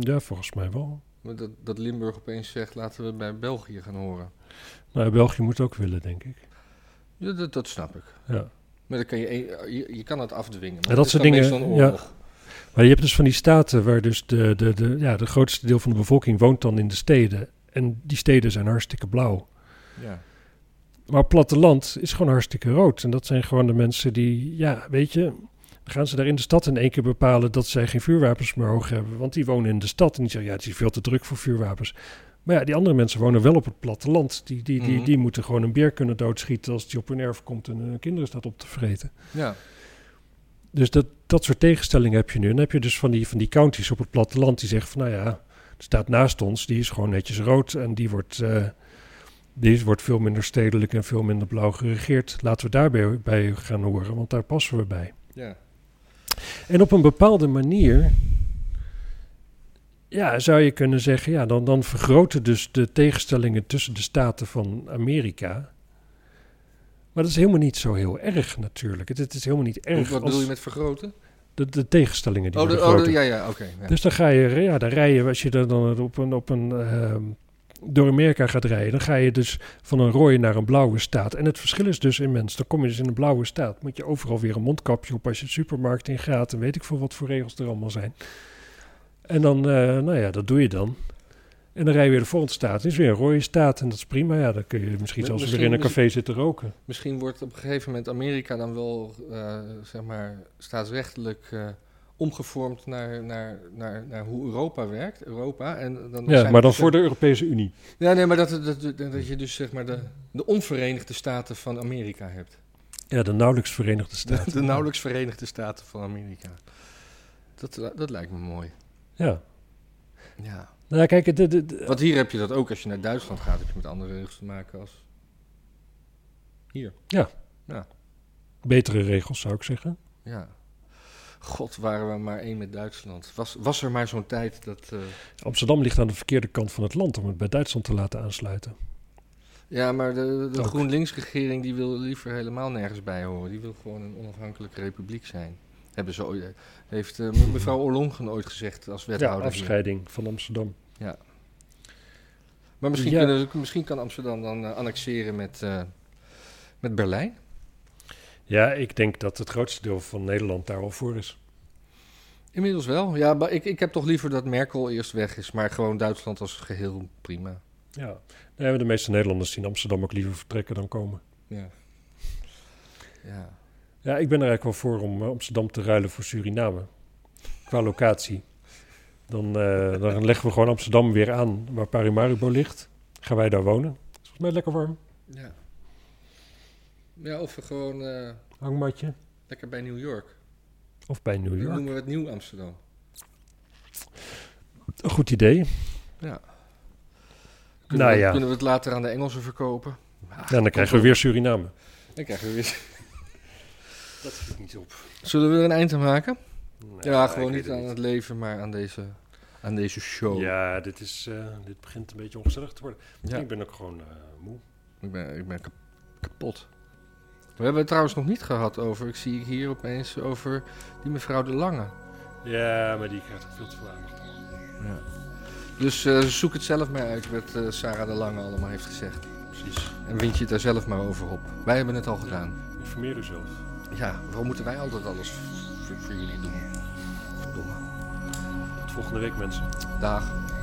A: Ja, volgens mij wel.
B: Want Dat, dat Limburg opeens zegt: laten we bij België gaan horen.
A: Nou, België moet ook willen, denk ik.
B: Ja, dat, dat snap ik.
A: Ja.
B: Maar dan kan je, een- je, je kan het afdwingen.
A: dat
B: Maar het is
A: soort
B: dan
A: dingen,
B: meestal een oorlog.
A: Maar Maar je hebt dus van die staten waar dus de, de, de, ja, de grootste deel van de bevolking woont dan in de steden. En die steden zijn hartstikke blauw.
B: Ja.
A: Maar platteland is gewoon hartstikke rood. En dat zijn gewoon de mensen die, ja, weet je, gaan ze daar in de stad in één keer bepalen dat zij geen vuurwapens meer hoog hebben. Want die wonen in de stad en die zeggen, ja, het is veel te druk voor vuurwapens. Maar ja, die andere mensen wonen wel op het platteland. Die, die, die,
B: Mhm.
A: die moeten gewoon een beer kunnen doodschieten als die op hun erf komt en hun kinderen staat op te vreten.
B: Ja.
A: Dus dat, dat soort tegenstellingen heb je nu. En dan heb je dus van die, van die counties op het platteland die zeggen van nou ja, de staat naast ons, die is gewoon netjes rood en die wordt, eh, die is- wordt veel minder stedelijk en veel minder blauw geregeerd. Laten we daarbij bij gaan horen, want daar passen we bij.
B: ja.
A: En op een bepaalde manier ja, zou je kunnen zeggen, ja, dan, dan vergroten dus de tegenstellingen tussen de staten van Amerika. Maar dat is helemaal niet zo heel erg natuurlijk. Het, het is helemaal niet
B: Wat
A: erg
B: wat bedoel je
A: als
B: met vergroten?
A: de, de tegenstellingen die
B: Oh, de-
A: worden
B: oh, de-
A: groter.
B: ja, ja, oké. ja.
A: Dus dan ga je, ja, dan rij je, als je dan- dan op een, op een ehm, door Amerika gaat rijden, dan ga je dus van een rode naar een blauwe staat. En het verschil is dus immens. Dan kom je dus in een blauwe staat. Moet je overal weer een mondkapje op als je de supermarkt in gaat en weet ik veel wat voor regels er allemaal zijn. En dan, eh, nou ja, dat doe je dan. En dan rij je weer de volgende staat. Het is weer een rode staat en dat is prima. Ja, dan kun je misschien
B: Mi-
A: zelfs weer
B: misschien-
A: in een café zitten roken.
B: Misschien wordt op een gegeven moment Amerika dan wel, eh, zeg maar, staatsrechtelijk eh, omgevormd naar, naar, naar, naar hoe Europa werkt. Europa. En dan
A: Ja,
B: zijn
A: maar dan
B: dus-
A: voor de Europese Unie.
B: Ja, nee, maar dat, dat, dat, dat je dus, zeg maar, de, de onverenigde staten van Amerika hebt.
A: Ja, de nauwelijks Verenigde
B: [LAUGHS] De,
A: Staten.
B: de nauwelijks verenigde staten van Amerika. Dat, dat lijkt me mooi.
A: Ja.
B: Ja.
A: Nou, ja, kijk, de, de, de-
B: Want hier heb je dat ook. Als je naar Duitsland gaat, heb je met andere regels te maken als... Hier.
A: betere regels zou ik zeggen.
B: Ja. God, waren we maar één met Duitsland. Was, was er maar zo'n tijd dat... eh,
A: Amsterdam ligt aan de verkeerde kant van het land om het bij Duitsland te laten aansluiten.
B: Ja, maar de, de
A: Ook.
B: GroenLinks-regering die wil liever helemaal nergens bij horen. Die wil gewoon een onafhankelijke republiek zijn. Hebben ze ooit, heeft
A: [LAUGHS]
B: eh, me- mevrouw Ollongren ooit gezegd als
A: Ja,
B: wethouder. hier.
A: afscheiding van Amsterdam.
B: Maar misschien,
A: Ja.
B: kunnen, ze- misschien kan Amsterdam dan eh, annexeren met, eh, met Berlijn.
A: Ja, ik denk dat het grootste deel van Nederland daar al voor is.
B: Inmiddels wel. Ja, maar ik, ik heb toch liever dat Merkel eerst weg is. Maar gewoon Duitsland als geheel prima.
A: Ja. Nee, maar de meeste Nederlanders zien Amsterdam ook liever vertrekken dan komen.
B: Ja. Ja.
A: Ja, ik ben er eigenlijk wel voor om eh, Amsterdam te ruilen voor Suriname. Qua locatie. Dan, eh, dan leggen we gewoon Amsterdam weer aan waar Paramaribo ligt. Gaan wij daar wonen. Is volgens mij lekker warm.
B: Ja, ja of we gewoon eh,
A: Hangmatje.
B: lekker bij New York.
A: Of bij New
B: Dan
A: York.
B: noemen we het Nieuw Amsterdam.
A: Een goed idee.
B: Kunnen,
A: Nou
B: we,
A: ja.
B: kunnen we het later aan de Engelsen verkopen? Ah,
A: Ja, dan krijgen we weer Suriname.
B: Dan krijgen we weer... [LAUGHS]
A: Dat schiet niet op.
B: Zullen we er een eind aan maken? ja, gewoon niet aan het leven, maar aan deze, aan deze show.
A: Ja, dit, is, eh, dit begint een beetje ongezellig te worden.
B: Ja,
A: Ik ben ook gewoon eh, moe.
B: ik ben, ik ben kap- kapot. We hebben het trouwens nog niet gehad over, ik zie hier opeens, over die mevrouw De Lange.
A: Ja, maar die krijgt veel te veel aandacht.
B: Dus eh, zoek het zelf maar uit wat eh, Sarah De Lange allemaal heeft gezegd.
A: Precies.
B: En wind je het daar zelf maar over op. Wij hebben het al gedaan.
A: Informeer uzelf.
B: Ja, waarom moeten wij altijd alles voor, voor jullie doen? Verdomme.
A: Tot volgende week, mensen.
B: Dag.